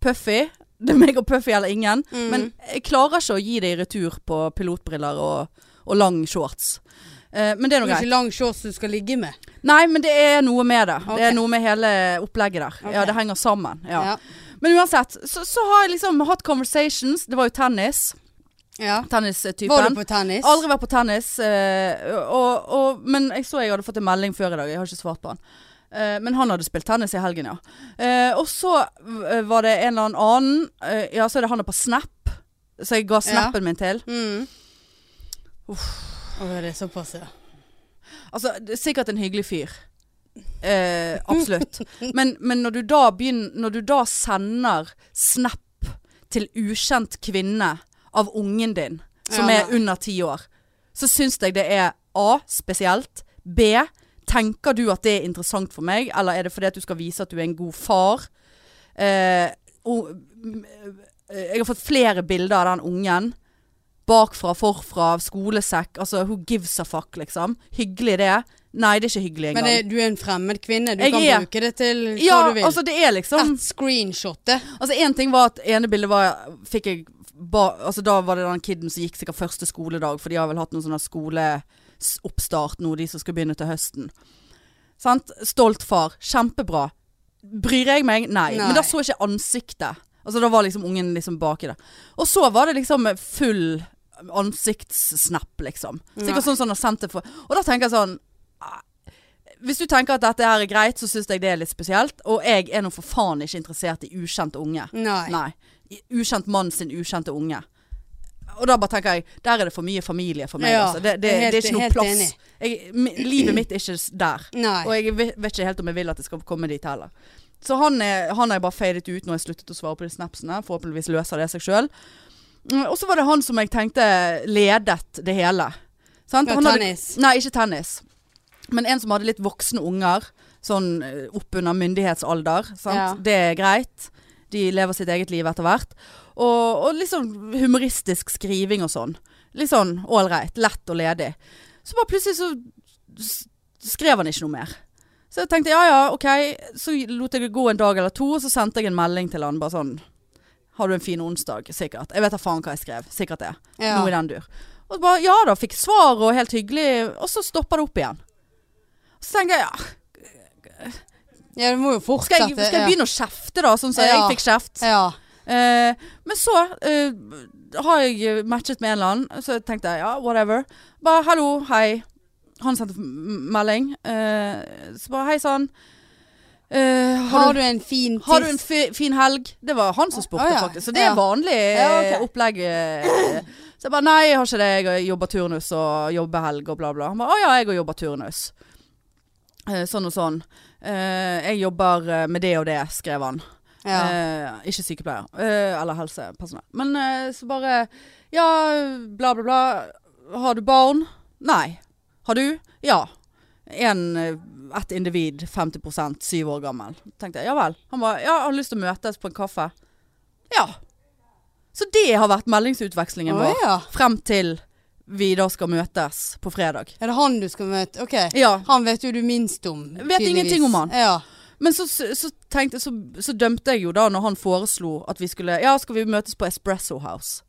Speaker 2: Puffy. Det er meg og Puffy eller ingen.
Speaker 1: Mhm.
Speaker 2: Men jeg klarer ikke å gi det i retur på pilotbriller og, og lang shorts. Eh, men det er
Speaker 1: Det
Speaker 2: nå
Speaker 1: er
Speaker 2: greit.
Speaker 1: ikke lang shorts du skal ligge med.
Speaker 2: Nei, men det er noe med det. Det
Speaker 1: Ok.
Speaker 2: er noe med hele opplegget der. Ja,
Speaker 1: Ok.
Speaker 2: det henger sammen. Ja.
Speaker 1: Ja.
Speaker 2: Men uansett, så, så har jeg liksom hatt conversations. Det var jo tennis.
Speaker 1: ja.
Speaker 2: Tennistypen.
Speaker 1: Var du på tennis?
Speaker 2: Aldri vært på tennis. eh, og, og, men jeg så jeg hadde fått en melding før i dag. Jeg har ikke svart på den. Eh, men han hadde spilt tennis i helgen, ja. Eh, og så eh, var det en eller annen eh, Ja, så er det han er på Snap. Så jeg ga snappen min til.
Speaker 1: Mm. Å, det er såpass, ja.
Speaker 2: Altså, det er sikkert en hyggelig fyr. Eh, absolutt. Men, men når, du da begynner, når du da sender snap til ukjent kvinne av ungen din, som
Speaker 1: Ja,
Speaker 2: er
Speaker 1: nei.
Speaker 2: under ti år, så syns jeg det er A. spesielt. B. Tenker du at det er interessant for meg, eller er det fordi at du skal vise at du er en god far? Eh, og, mm, eh, jeg har fått flere bilder av den ungen. Bakfra, forfra, skolesekk. Altså, who gives a fuck, liksom. Hyggelig det. Nei, det er ikke hyggelig
Speaker 1: Men
Speaker 2: engang.
Speaker 1: det, du er en fremmed kvinne. Du
Speaker 2: Jeg
Speaker 1: kan
Speaker 2: er-
Speaker 1: bruke det til hva
Speaker 2: ja,
Speaker 1: du vil.
Speaker 2: altså, det er liksom
Speaker 1: Ett screenshot, det.
Speaker 2: Altså en ting var at ene bildet var Fikk jeg ba, Altså da var det den kiden som gikk sikkert første skoledag For de har vel hatt noen sånne skoleoppstart nå De som skal begynne til høsten Sant? Stolt far, kjempebra Bryr jeg meg? Nei,
Speaker 1: Nei.
Speaker 2: Men da så jeg ikke ansiktet Altså da var liksom ungen liksom bak i det Og så var det liksom full ansiktssnapp liksom
Speaker 1: Nei.
Speaker 2: Sikkert sånn som han har sendt det for Og da tenker jeg sånn ah, Hvis du tenker at dette her er greit Så synes jeg det er litt spesielt Og jeg er nå for faen ikke interessert i ukjent unge
Speaker 1: Nei.
Speaker 2: Nei. Ukjent mann sin ukjente unge. Og da bare tenker jeg Der er det for mye familie for meg.
Speaker 1: Ja,
Speaker 2: altså. det, det,
Speaker 1: jeg er
Speaker 2: det er
Speaker 1: helt-
Speaker 2: ikke noe
Speaker 1: helt
Speaker 2: plass.
Speaker 1: enig.
Speaker 2: Jeg, mi- livet mitt er ikke s- der.
Speaker 1: Nei.
Speaker 2: Og jeg vet, vet ikke helt om jeg vil at det skal komme dit heller. Så han, er, han har jeg bare fadet ut når jeg sluttet å svare på de snapsene. Forhåpentligvis løser det seg sjøl. Og så var det han som jeg tenkte ledet det hele. Sant?
Speaker 1: Ja,
Speaker 2: Han hadde-
Speaker 1: tennis.
Speaker 2: Nei, ikke tennis. Men en som hadde litt voksne unger, sånn eh, oppunder myndighetsalder. Sant?
Speaker 1: Ja.
Speaker 2: Det er greit. De lever sitt eget liv etter hvert. Og, og litt sånn humoristisk skriving og sånn. Litt sånn ålreit. Lett og ledig. Så bare plutselig så s- skrev han ikke noe mer. Så jeg tenkte ja ja, ok. Så lot jeg det gå en dag eller to, og så sendte jeg en melding til han bare sånn Har du en fin onsdag? Sikkert. Jeg vet da faen hva jeg skrev. Sikkert det.
Speaker 1: Ja.
Speaker 2: Noe i den dur. Og så bare, ja da, fikk svar og helt hyggelig, og så stopper det opp igjen. Så tenker jeg, ja,
Speaker 1: ja, du må jo
Speaker 2: skal
Speaker 1: fortsette.
Speaker 2: jeg, skal jeg begynne å kjefte da, sånn som
Speaker 1: Ja.
Speaker 2: jeg fikk kjeft?
Speaker 1: Ja.
Speaker 2: Eh, men så eh, har jeg eh, matchet med en eller annen, så tenkte jeg, ja, whatever. Bare, hallo, hei. Han sendte m- melding. eh, så bare, hei sann. Eh,
Speaker 1: ja.
Speaker 2: har,
Speaker 1: Har du en fin tiss?
Speaker 2: har du en fi, fin helg? Det var han som spurte,
Speaker 1: Å, ja.
Speaker 2: faktisk. Så det er
Speaker 1: Ja.
Speaker 2: vanlig eh,
Speaker 1: Ja, ok.
Speaker 2: opplegg. eh. Så jeg bare nei, jeg har ikke det. Jeg jobber turnus og jobber helg og bla, bla. Han bare å ja, jeg òg jobber turnus. Eh, Sånn og sånn. Eh, Jeg jobber eh, med det og det, skrev han.
Speaker 1: ja.
Speaker 2: Eh, ikke sykepleier. Eh, eller helsepersonell. Men eh, så bare Ja, bla, bla, bla. Har du barn? Nei. Har du? Ja. En, eh, ett individ, 50 syv år gammel. Tenkte jeg, ja vel. Han bare Ja, har du lyst til å møtes på en kaffe? Ja. Så det har vært meldingsutvekslingen
Speaker 1: Å,
Speaker 2: vår
Speaker 1: ja.
Speaker 2: frem til vi da skal møtes på fredag.
Speaker 1: Er det han du skal møte? OK.
Speaker 2: Ja.
Speaker 1: Han vet jo du minst om.
Speaker 2: Vet
Speaker 1: tydeligvis.
Speaker 2: ingenting om han.
Speaker 1: Ja.
Speaker 2: Men så, så, så tenkte, så, så dømte jeg jo da når han foreslo at vi skulle Ja, skal vi møtes på Espresso House?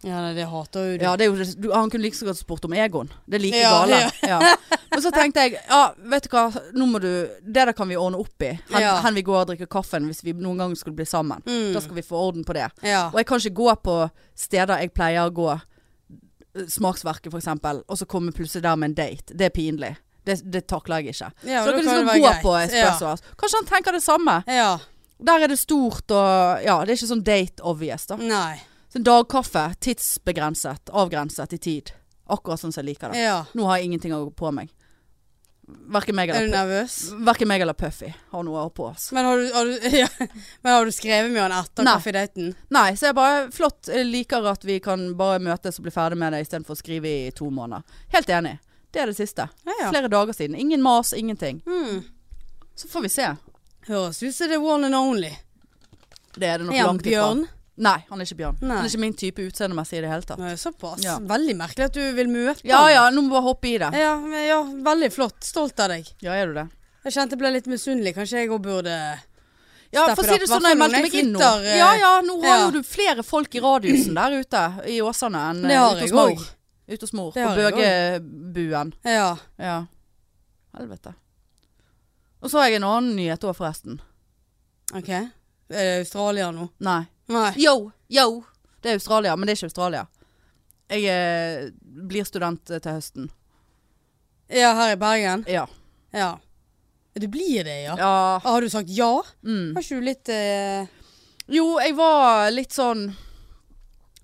Speaker 1: ja nei, det hater jo du.
Speaker 2: Ja, det er jo, du, han kunne like så godt spurt om Egon. Det er like
Speaker 1: Ja,
Speaker 2: gale.
Speaker 1: ja.
Speaker 2: Ja. Men så tenkte jeg, ja, vet du hva, nå må du Det der kan vi ordne opp i. Hen,
Speaker 1: Ja.
Speaker 2: hen vi går og drikker kaffen hvis vi noen gang skulle bli sammen.
Speaker 1: Mm.
Speaker 2: Da skal vi få orden på det.
Speaker 1: ja.
Speaker 2: Og jeg kan ikke gå på steder jeg pleier å gå, eh, Smaksverket f.eks., og så komme plutselig der med en date. Det er pinlig. Det, det takler jeg ikke.
Speaker 1: Ja, da
Speaker 2: så dere
Speaker 1: kan
Speaker 2: liksom
Speaker 1: det
Speaker 2: gå
Speaker 1: være
Speaker 2: på
Speaker 1: greit.
Speaker 2: Espresso House. Kanskje han tenker det samme.
Speaker 1: Ja. ja.
Speaker 2: Der er det stort og Ja, det er ikke sånn date obvious, da.
Speaker 1: Nei.
Speaker 2: Så dagkaffe, tidsbegrenset, avgrenset i tid. Akkurat sånn som jeg liker det.
Speaker 1: Ja.
Speaker 2: Nå har jeg ingenting å gå på meg. Verken meg
Speaker 1: Er du
Speaker 2: eller,
Speaker 1: nervøs?
Speaker 2: Pu- hverken meg eller Puffy har noe på altså. oss.
Speaker 1: Men har du, har du, ja. Men har du skrevet med han etter
Speaker 2: Nei.
Speaker 1: kaffedaten?
Speaker 2: Nei, så jeg bare Flott. Jeg liker at vi kan bare møtes og bli ferdig med det istedenfor å skrive i to måneder. Helt enig. Det er det siste.
Speaker 1: Ja, ja.
Speaker 2: Flere dager siden. Ingen mas, ingenting.
Speaker 1: Hmm.
Speaker 2: Så får vi se.
Speaker 1: Høres ut som det er one and only.
Speaker 2: Det er det nok
Speaker 1: Er han
Speaker 2: langt ifra.
Speaker 1: bjørn?
Speaker 2: Nei, han er ikke bjørn.
Speaker 1: Nei.
Speaker 2: Han er ikke min type utseendemessig i det hele tatt.
Speaker 1: Nei, Såpass.
Speaker 2: Ja.
Speaker 1: Veldig merkelig at du vil møte
Speaker 2: Ja
Speaker 1: han.
Speaker 2: ja, nå må vi bare hoppe i det.
Speaker 1: Ja, men ja, veldig flott. Stolt av deg.
Speaker 2: Ja, er du det?
Speaker 1: Jeg kjente jeg ble litt misunnelig. Kanskje jeg òg burde
Speaker 2: Ja,
Speaker 1: Step
Speaker 2: for å
Speaker 1: it up.
Speaker 2: si det
Speaker 1: Hvertfall
Speaker 2: sånn, når jeg
Speaker 1: når
Speaker 2: meldte
Speaker 1: jeg
Speaker 2: meg inn nå.
Speaker 1: flytter, eh,
Speaker 2: Ja ja, nå har
Speaker 1: ja.
Speaker 2: jo du flere folk i radiusen der ute i Åsane enn
Speaker 1: Det
Speaker 2: eh,
Speaker 1: har
Speaker 2: ute hos
Speaker 1: jeg
Speaker 2: mor.
Speaker 1: òg.
Speaker 2: Ute hos mor.
Speaker 1: Det
Speaker 2: På
Speaker 1: har jeg
Speaker 2: Bøgebuen.
Speaker 1: Ja.
Speaker 2: Ja. Helvete. Og så har jeg en annen nyhet òg, forresten.
Speaker 1: OK. Er det Australia nå?
Speaker 2: Nei.
Speaker 1: Nei.
Speaker 2: Yo, yo. Det er Australia, men det er ikke Australia. Jeg eh, blir student eh, til høsten.
Speaker 1: Ja, her i Bergen?
Speaker 2: Ja.
Speaker 1: Ja. Du blir det, ja?
Speaker 2: ja.
Speaker 1: Har du sagt ja?
Speaker 2: Mm.
Speaker 1: Har ikke du litt eh,
Speaker 2: Jo, jeg var litt sånn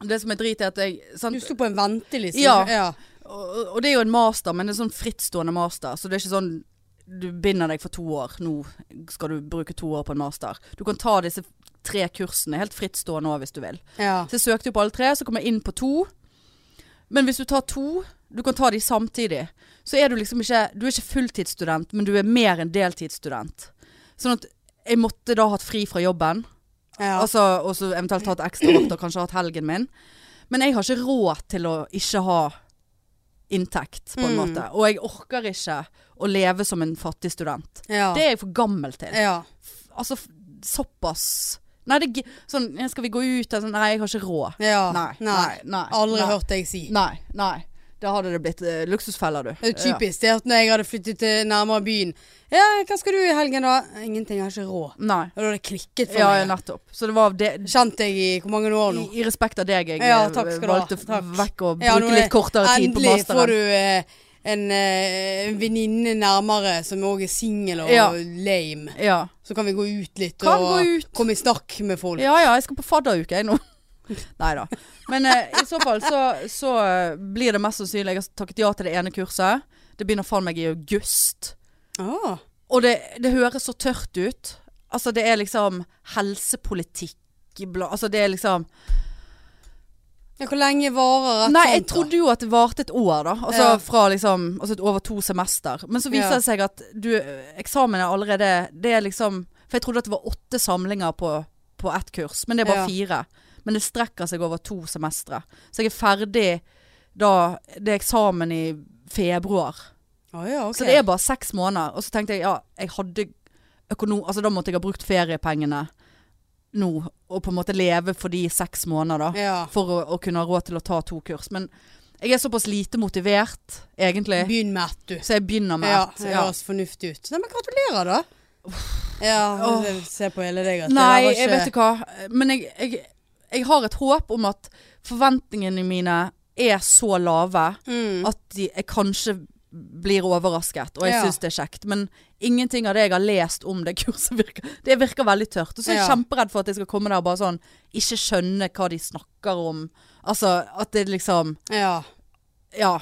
Speaker 2: Det som er drit, er at jeg sant?
Speaker 1: Du sto på en venteliste?
Speaker 2: Ja.
Speaker 1: ja.
Speaker 2: og, og det er jo en master, men det er sånn frittstående master. Så det er ikke sånn du binder deg for to år. Nå skal du bruke to år på en master. Du kan ta disse tre kursene helt frittstående òg, hvis du vil.
Speaker 1: Ja.
Speaker 2: Så jeg søkte jo på alle tre, så kom jeg inn på to. Men hvis du tar to, du kan ta de samtidig, så er du liksom ikke Du er ikke fulltidsstudent, men du er mer enn deltidsstudent. Sånn at jeg måtte da hatt fri fra jobben.
Speaker 1: ja.
Speaker 2: Altså, og så eventuelt hatt ekstra vakter, kanskje hatt helgen min. Men jeg har ikke råd til å ikke ha inntekt, på en
Speaker 1: Mm.
Speaker 2: måte. Og jeg orker ikke å leve som en fattig student.
Speaker 1: ja.
Speaker 2: Det er jeg for gammel til.
Speaker 1: ja.
Speaker 2: F- Altså, f- såpass Nei, det er gi- sånn ja, Skal vi gå ut? Sånn, nei, jeg har ikke råd.
Speaker 1: ja.
Speaker 2: Nei. Nei. nei
Speaker 1: Aldri
Speaker 2: nei,
Speaker 1: hørt deg si.
Speaker 2: Nei. nei. Da hadde det blitt eh, luksusfeller, du.
Speaker 1: Det er jo typisk det at når jeg hadde flyttet til nærmere byen Ja, hva skal du i helgen da? Ingenting, jeg har ikke råd.
Speaker 2: Ja. Nei.
Speaker 1: Og da hadde det klikket for
Speaker 2: Ja, ja,
Speaker 1: meg.
Speaker 2: nettopp. Så det var det,
Speaker 1: Kjent deg i hvor mange år
Speaker 2: i,
Speaker 1: nå?
Speaker 2: i respekt av deg jeg
Speaker 1: Ja,
Speaker 2: eh,
Speaker 1: takk skal du ha.
Speaker 2: valgte f-
Speaker 1: Takk.
Speaker 2: vekk og bruke
Speaker 1: Ja, nå er-
Speaker 2: litt kortere tid på
Speaker 1: Endelig
Speaker 2: masteren.
Speaker 1: får du eh, en eh, venninne nærmere som òg er singel og
Speaker 2: Ja.
Speaker 1: lame.
Speaker 2: Ja.
Speaker 1: Så kan vi gå ut litt
Speaker 2: Kan
Speaker 1: og
Speaker 2: gå ut.
Speaker 1: komme i snakk med folk.
Speaker 2: Ja ja, jeg skal på fadderuke jeg nå. Nei da. Men eh, i så fall så, så eh, blir det mest sannsynlig Jeg har takket ja til det ene kurset. Det begynner faen meg i august.
Speaker 1: Ah,
Speaker 2: Og det, det høres så tørt ut. Altså det er liksom helsepolitikk bla- Altså det er liksom
Speaker 1: ja, hvor lenge varer et
Speaker 2: Nei, jeg
Speaker 1: sånt, da?
Speaker 2: trodde jo at det varte et år, da. Altså
Speaker 1: sånn Ja.
Speaker 2: fra liksom Altså et over to semester. Men så viser
Speaker 1: Ja.
Speaker 2: det seg at du Eksamen er allerede Det er liksom For jeg trodde at det var åtte samlinger på, på ett kurs, men det er
Speaker 1: Ja.
Speaker 2: bare fire. Men det strekker seg over to semestre. Så jeg er ferdig da Det er eksamen i februar.
Speaker 1: Ah, ja, ok.
Speaker 2: Så det er bare seks måneder. Og så tenkte jeg ja, jeg hadde økonom... Altså da måtte jeg ha brukt feriepengene nå, og på en måte leve for de seks måneder, da
Speaker 1: ja.
Speaker 2: for å, å kunne ha råd til å ta to kurs. Men jeg er såpass lite motivert, egentlig.
Speaker 1: Begynn med ett, du.
Speaker 2: Så jeg begynner med
Speaker 1: Ja,
Speaker 2: ett.
Speaker 1: det
Speaker 2: Ja.
Speaker 1: høres fornuftig ut. Nei, men gratulerer, da. Ja,
Speaker 2: Åh.
Speaker 1: jeg ser på hele deg at
Speaker 2: Nei,
Speaker 1: det
Speaker 2: jeg
Speaker 1: der var
Speaker 2: vet
Speaker 1: ikke
Speaker 2: ikke hva. Men jeg, jeg, jeg har et håp om at forventningene mine er så lave
Speaker 1: mm.
Speaker 2: at de, jeg kanskje blir overrasket, og jeg
Speaker 1: Ja.
Speaker 2: syns det er kjekt. Men ingenting av det jeg har lest om det kurset virker Det virker veldig tørt. Og så er jeg
Speaker 1: Ja.
Speaker 2: kjemperedd for at jeg skal komme der og bare sånn ikke skjønne hva de snakker om. Altså at det liksom
Speaker 1: Ja.
Speaker 2: Ja.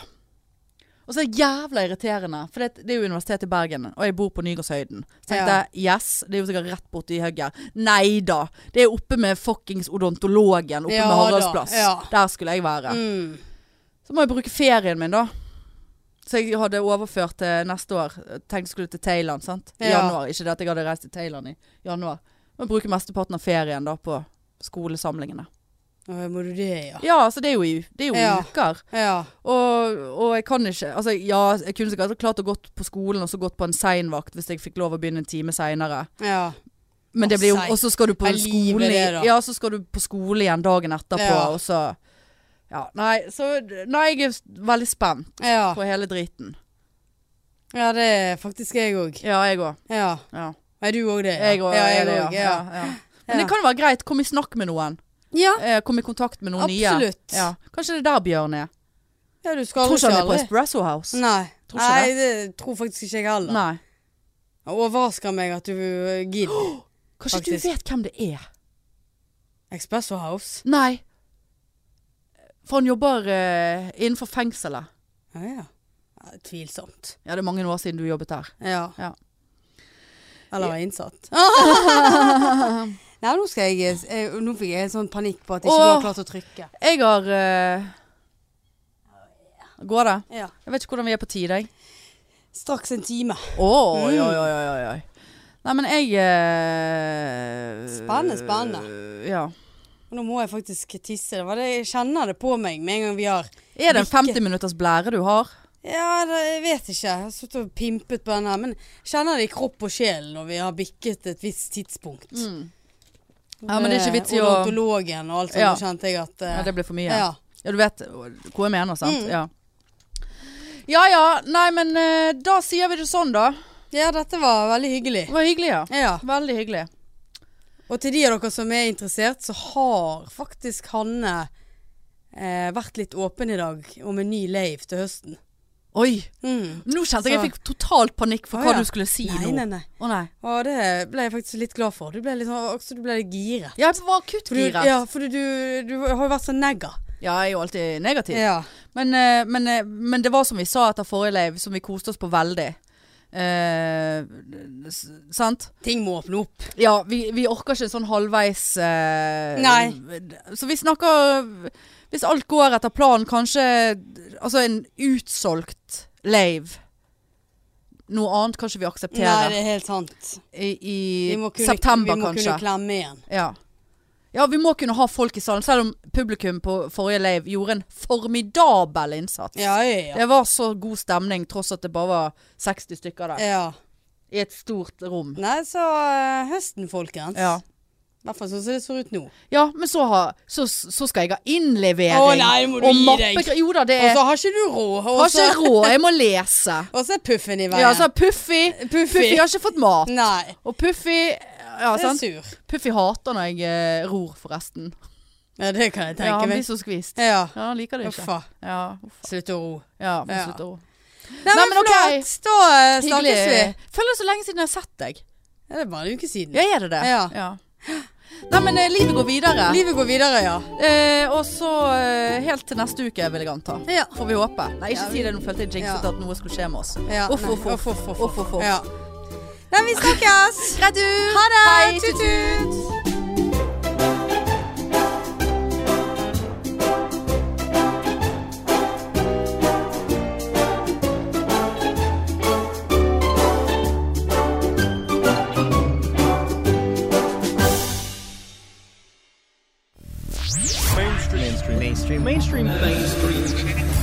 Speaker 2: Og så er det jævla irriterende, for det, det er jo Universitetet i Bergen, og jeg bor på Nygårdshøyden. Så tenkte jeg yes, det er jo sikkert rett borti hugget. Nei da, det er oppe med fuckings odontologen oppe
Speaker 1: Ja
Speaker 2: med
Speaker 1: da,
Speaker 2: Haraldsplass.
Speaker 1: ja.
Speaker 2: Der skulle jeg være.
Speaker 1: Mm.
Speaker 2: Så må jeg bruke ferien min, da. Så jeg hadde overført til neste år. Tenkte jeg skulle til Thailand, sant. I
Speaker 1: Ja.
Speaker 2: januar. Ikke det at jeg hadde reist til Thailand i januar. Men bruke mesteparten av ferien da på skolesamlingene.
Speaker 1: Åh, Må du det, ja?
Speaker 2: Ja, altså det er jo, i- det er jo i
Speaker 1: Ah. Ja.
Speaker 2: uker.
Speaker 1: Ja.
Speaker 2: Og, og jeg kan ikke Altså ja, jeg kunne sikkert klart å gått på skolen og så gått på en seinvakt hvis jeg fikk lov å begynne en time seinere.
Speaker 1: ja.
Speaker 2: Men det blir jo
Speaker 1: Å, sein.
Speaker 2: Og så skal du på
Speaker 1: Er livet
Speaker 2: skole
Speaker 1: det, da?
Speaker 2: Ja, så skal du på skole igjen dagen etterpå,
Speaker 1: Ja.
Speaker 2: og så Ja. Nei, så Nei, jeg er veldig spent
Speaker 1: Ja.
Speaker 2: på hele driten.
Speaker 1: ja, det er faktisk jeg òg.
Speaker 2: Ja, jeg òg.
Speaker 1: Ja.
Speaker 2: Ja.
Speaker 1: Er du òg det? ja?
Speaker 2: Jeg òg.
Speaker 1: Ja,
Speaker 2: er
Speaker 1: jeg
Speaker 2: det,
Speaker 1: òg. Ja.
Speaker 2: ja, ja. Men det
Speaker 1: Ja.
Speaker 2: kan jo være greit. Kom i snakk med noen.
Speaker 1: ja.
Speaker 2: Eh, Kom i kontakt med noen nye.
Speaker 1: Absolutt.
Speaker 2: Ja. Kanskje det er der Bjørn er.
Speaker 1: Ja, du skal
Speaker 2: Tror ikke han er på
Speaker 1: aldri-
Speaker 2: Espresso House.
Speaker 1: Nei.
Speaker 2: Tror ikke
Speaker 1: Nei, det tror faktisk ikke jeg heller.
Speaker 2: Nei.
Speaker 1: Det Overrasker meg at du eh, gidder.
Speaker 2: Kanskje
Speaker 1: Faktisk.
Speaker 2: du vet hvem det er?
Speaker 1: Expresso House.
Speaker 2: Nei. For han jobber eh, innenfor fengselet.
Speaker 1: Ja, ja. Tvilsomt.
Speaker 2: Ja, det er mange år siden du jobbet der.
Speaker 1: Ja.
Speaker 2: Ja.
Speaker 1: Eller var innsatt. Nei, nå skal jeg, jeg Nå fikk jeg en sånn panikk på at jeg ikke
Speaker 2: Åh.
Speaker 1: har klart å trykke.
Speaker 2: Jeg har eh, Går det?
Speaker 1: Ja.
Speaker 2: Jeg vet ikke hvordan vi er på tid, jeg.
Speaker 1: Straks en time.
Speaker 2: Åh,
Speaker 1: Mm.
Speaker 2: oi, oi, oi, oi, oi. Nei, men jeg eh,
Speaker 1: Spennende, spennende.
Speaker 2: Ja.
Speaker 1: Og Nå må jeg faktisk tisse. Det var det, jeg kjenner det på meg med en gang vi har
Speaker 2: Er det en
Speaker 1: Hvilke-
Speaker 2: 50 minutters blære du har?
Speaker 1: Ja, det, jeg vet ikke. Jeg har sittet og pimpet på den her. Men jeg kjenner det i kropp og sjel når vi har bikket et visst tidspunkt.
Speaker 2: Ja, men det er ikke vits i å
Speaker 1: Mm. Odontologen og alt sånt,
Speaker 2: Ja.
Speaker 1: kjente jeg at eh,
Speaker 2: Ja, det blir for mye.
Speaker 1: ja. Mm.
Speaker 2: Ja, du vet hva jeg mener, sant? Ja. ja ja, nei men eh, da sier vi det sånn, da.
Speaker 1: ja, dette var veldig hyggelig.
Speaker 2: Det var hyggelig, ja.
Speaker 1: Ja.
Speaker 2: Veldig hyggelig.
Speaker 1: Og til de av dere som er interessert, så har faktisk Hanne eh, vært litt åpen i dag om en ny lave til høsten.
Speaker 2: Oi!
Speaker 1: Mm.
Speaker 2: Nå kjente jeg jeg
Speaker 1: Så-
Speaker 2: fikk totalt panikk for
Speaker 1: Å,
Speaker 2: hva
Speaker 1: ja.
Speaker 2: du skulle si
Speaker 1: Nei,
Speaker 2: nå.
Speaker 1: nei, nei.
Speaker 2: Å nei.
Speaker 1: Og det ble jeg faktisk litt glad for. Du ble litt, sånn- også, du ble litt giret.
Speaker 2: Ja, Jeg
Speaker 1: For
Speaker 2: var
Speaker 1: du,
Speaker 2: akuttgiret. Ja.
Speaker 1: ja, for du, du har jo vært så negga.
Speaker 2: jeg er jo alltid negativ.
Speaker 1: Ja.
Speaker 2: Men, eh, men, eh, men det var som vi sa etter forrige live, som vi koste oss på veldig. Eh, s- sant?
Speaker 1: Ting må åpne opp.
Speaker 2: Ja, vi, vi orker ikke en sånn halvveis eh,
Speaker 1: Nei.
Speaker 2: Så vi snakker Hvis alt går etter planen, kanskje Altså en utsolgt lave. Noe annet kan ikke vi akseptere.
Speaker 1: Nei, det er helt sant.
Speaker 2: I, i
Speaker 1: Vi må kunne,
Speaker 2: september,
Speaker 1: vi må
Speaker 2: kanskje.
Speaker 1: kunne klemme igjen.
Speaker 2: Ja. ja, vi må kunne ha folk i salen. Selv om publikum på forrige live gjorde en formidabel innsats.
Speaker 1: Ja, ja, ja.
Speaker 2: Det var så god stemning, tross at det bare var 60 stykker der.
Speaker 1: ja.
Speaker 2: I et stort rom.
Speaker 1: Nei, så eh, høsten, folkens.
Speaker 2: Ja,
Speaker 1: I hvert fall sånn som det ser ut nå.
Speaker 2: ja men så, har, så, så skal jeg ha innlevering.
Speaker 1: Å, nei, må du
Speaker 2: og
Speaker 1: gi
Speaker 2: mappe-
Speaker 1: deg.
Speaker 2: Jo da, det
Speaker 1: Og
Speaker 2: er
Speaker 1: så har ikke du råd. Og
Speaker 2: Har
Speaker 1: så-
Speaker 2: ikke råd, jeg må lese.
Speaker 1: Og så er puffen i veien.
Speaker 2: Ja, så har Puffy
Speaker 1: Puffy.
Speaker 2: Puffy har ikke fått mat.
Speaker 1: Nei,
Speaker 2: Og Puffy
Speaker 1: det
Speaker 2: Ja,
Speaker 1: er
Speaker 2: sant.
Speaker 1: sur.
Speaker 2: Puffy hater når jeg eh, ror, forresten.
Speaker 1: Ja, det kan jeg
Speaker 2: Ja,
Speaker 1: tenke
Speaker 2: han blir
Speaker 1: meg.
Speaker 2: så skvist.
Speaker 1: Ja,
Speaker 2: Ja, han liker det ikke.
Speaker 1: uffa.
Speaker 2: Ja, uff.
Speaker 1: Slutt å ro.
Speaker 2: ja, må
Speaker 1: Ja.
Speaker 2: slutte å ro.
Speaker 1: Nei,
Speaker 2: Nei,
Speaker 1: men,
Speaker 2: men ok.
Speaker 1: flott. Da eh,
Speaker 2: Hyggelig.
Speaker 1: snakkes vi.
Speaker 2: Føler det er så lenge siden jeg har sett deg.
Speaker 1: Ja, det er bare en uke siden.
Speaker 2: Ja, er det det?
Speaker 1: Ja.
Speaker 2: Nei, men eh, livet går videre.
Speaker 1: Livet går videre, ja.
Speaker 2: Eh, og så eh, helt til neste uke, vil jeg anta.
Speaker 1: Ja.
Speaker 2: Får vi håpe. Nei, ikke
Speaker 1: Ja,
Speaker 2: si det, nå følte jeg jinxet
Speaker 1: Ja.
Speaker 2: at noe skulle skje med oss.
Speaker 1: ja.
Speaker 2: Uff,
Speaker 1: nei.
Speaker 2: uff, uff.
Speaker 1: uff, uff,
Speaker 2: Uff, uff, uff.
Speaker 1: Ja. Nei, vi snakkes.
Speaker 2: Greit du!
Speaker 1: Ha det.
Speaker 2: Hei,
Speaker 1: Tut,
Speaker 2: tut,
Speaker 1: tut.
Speaker 3: mainstream mainstream mainstream mainstream mainstream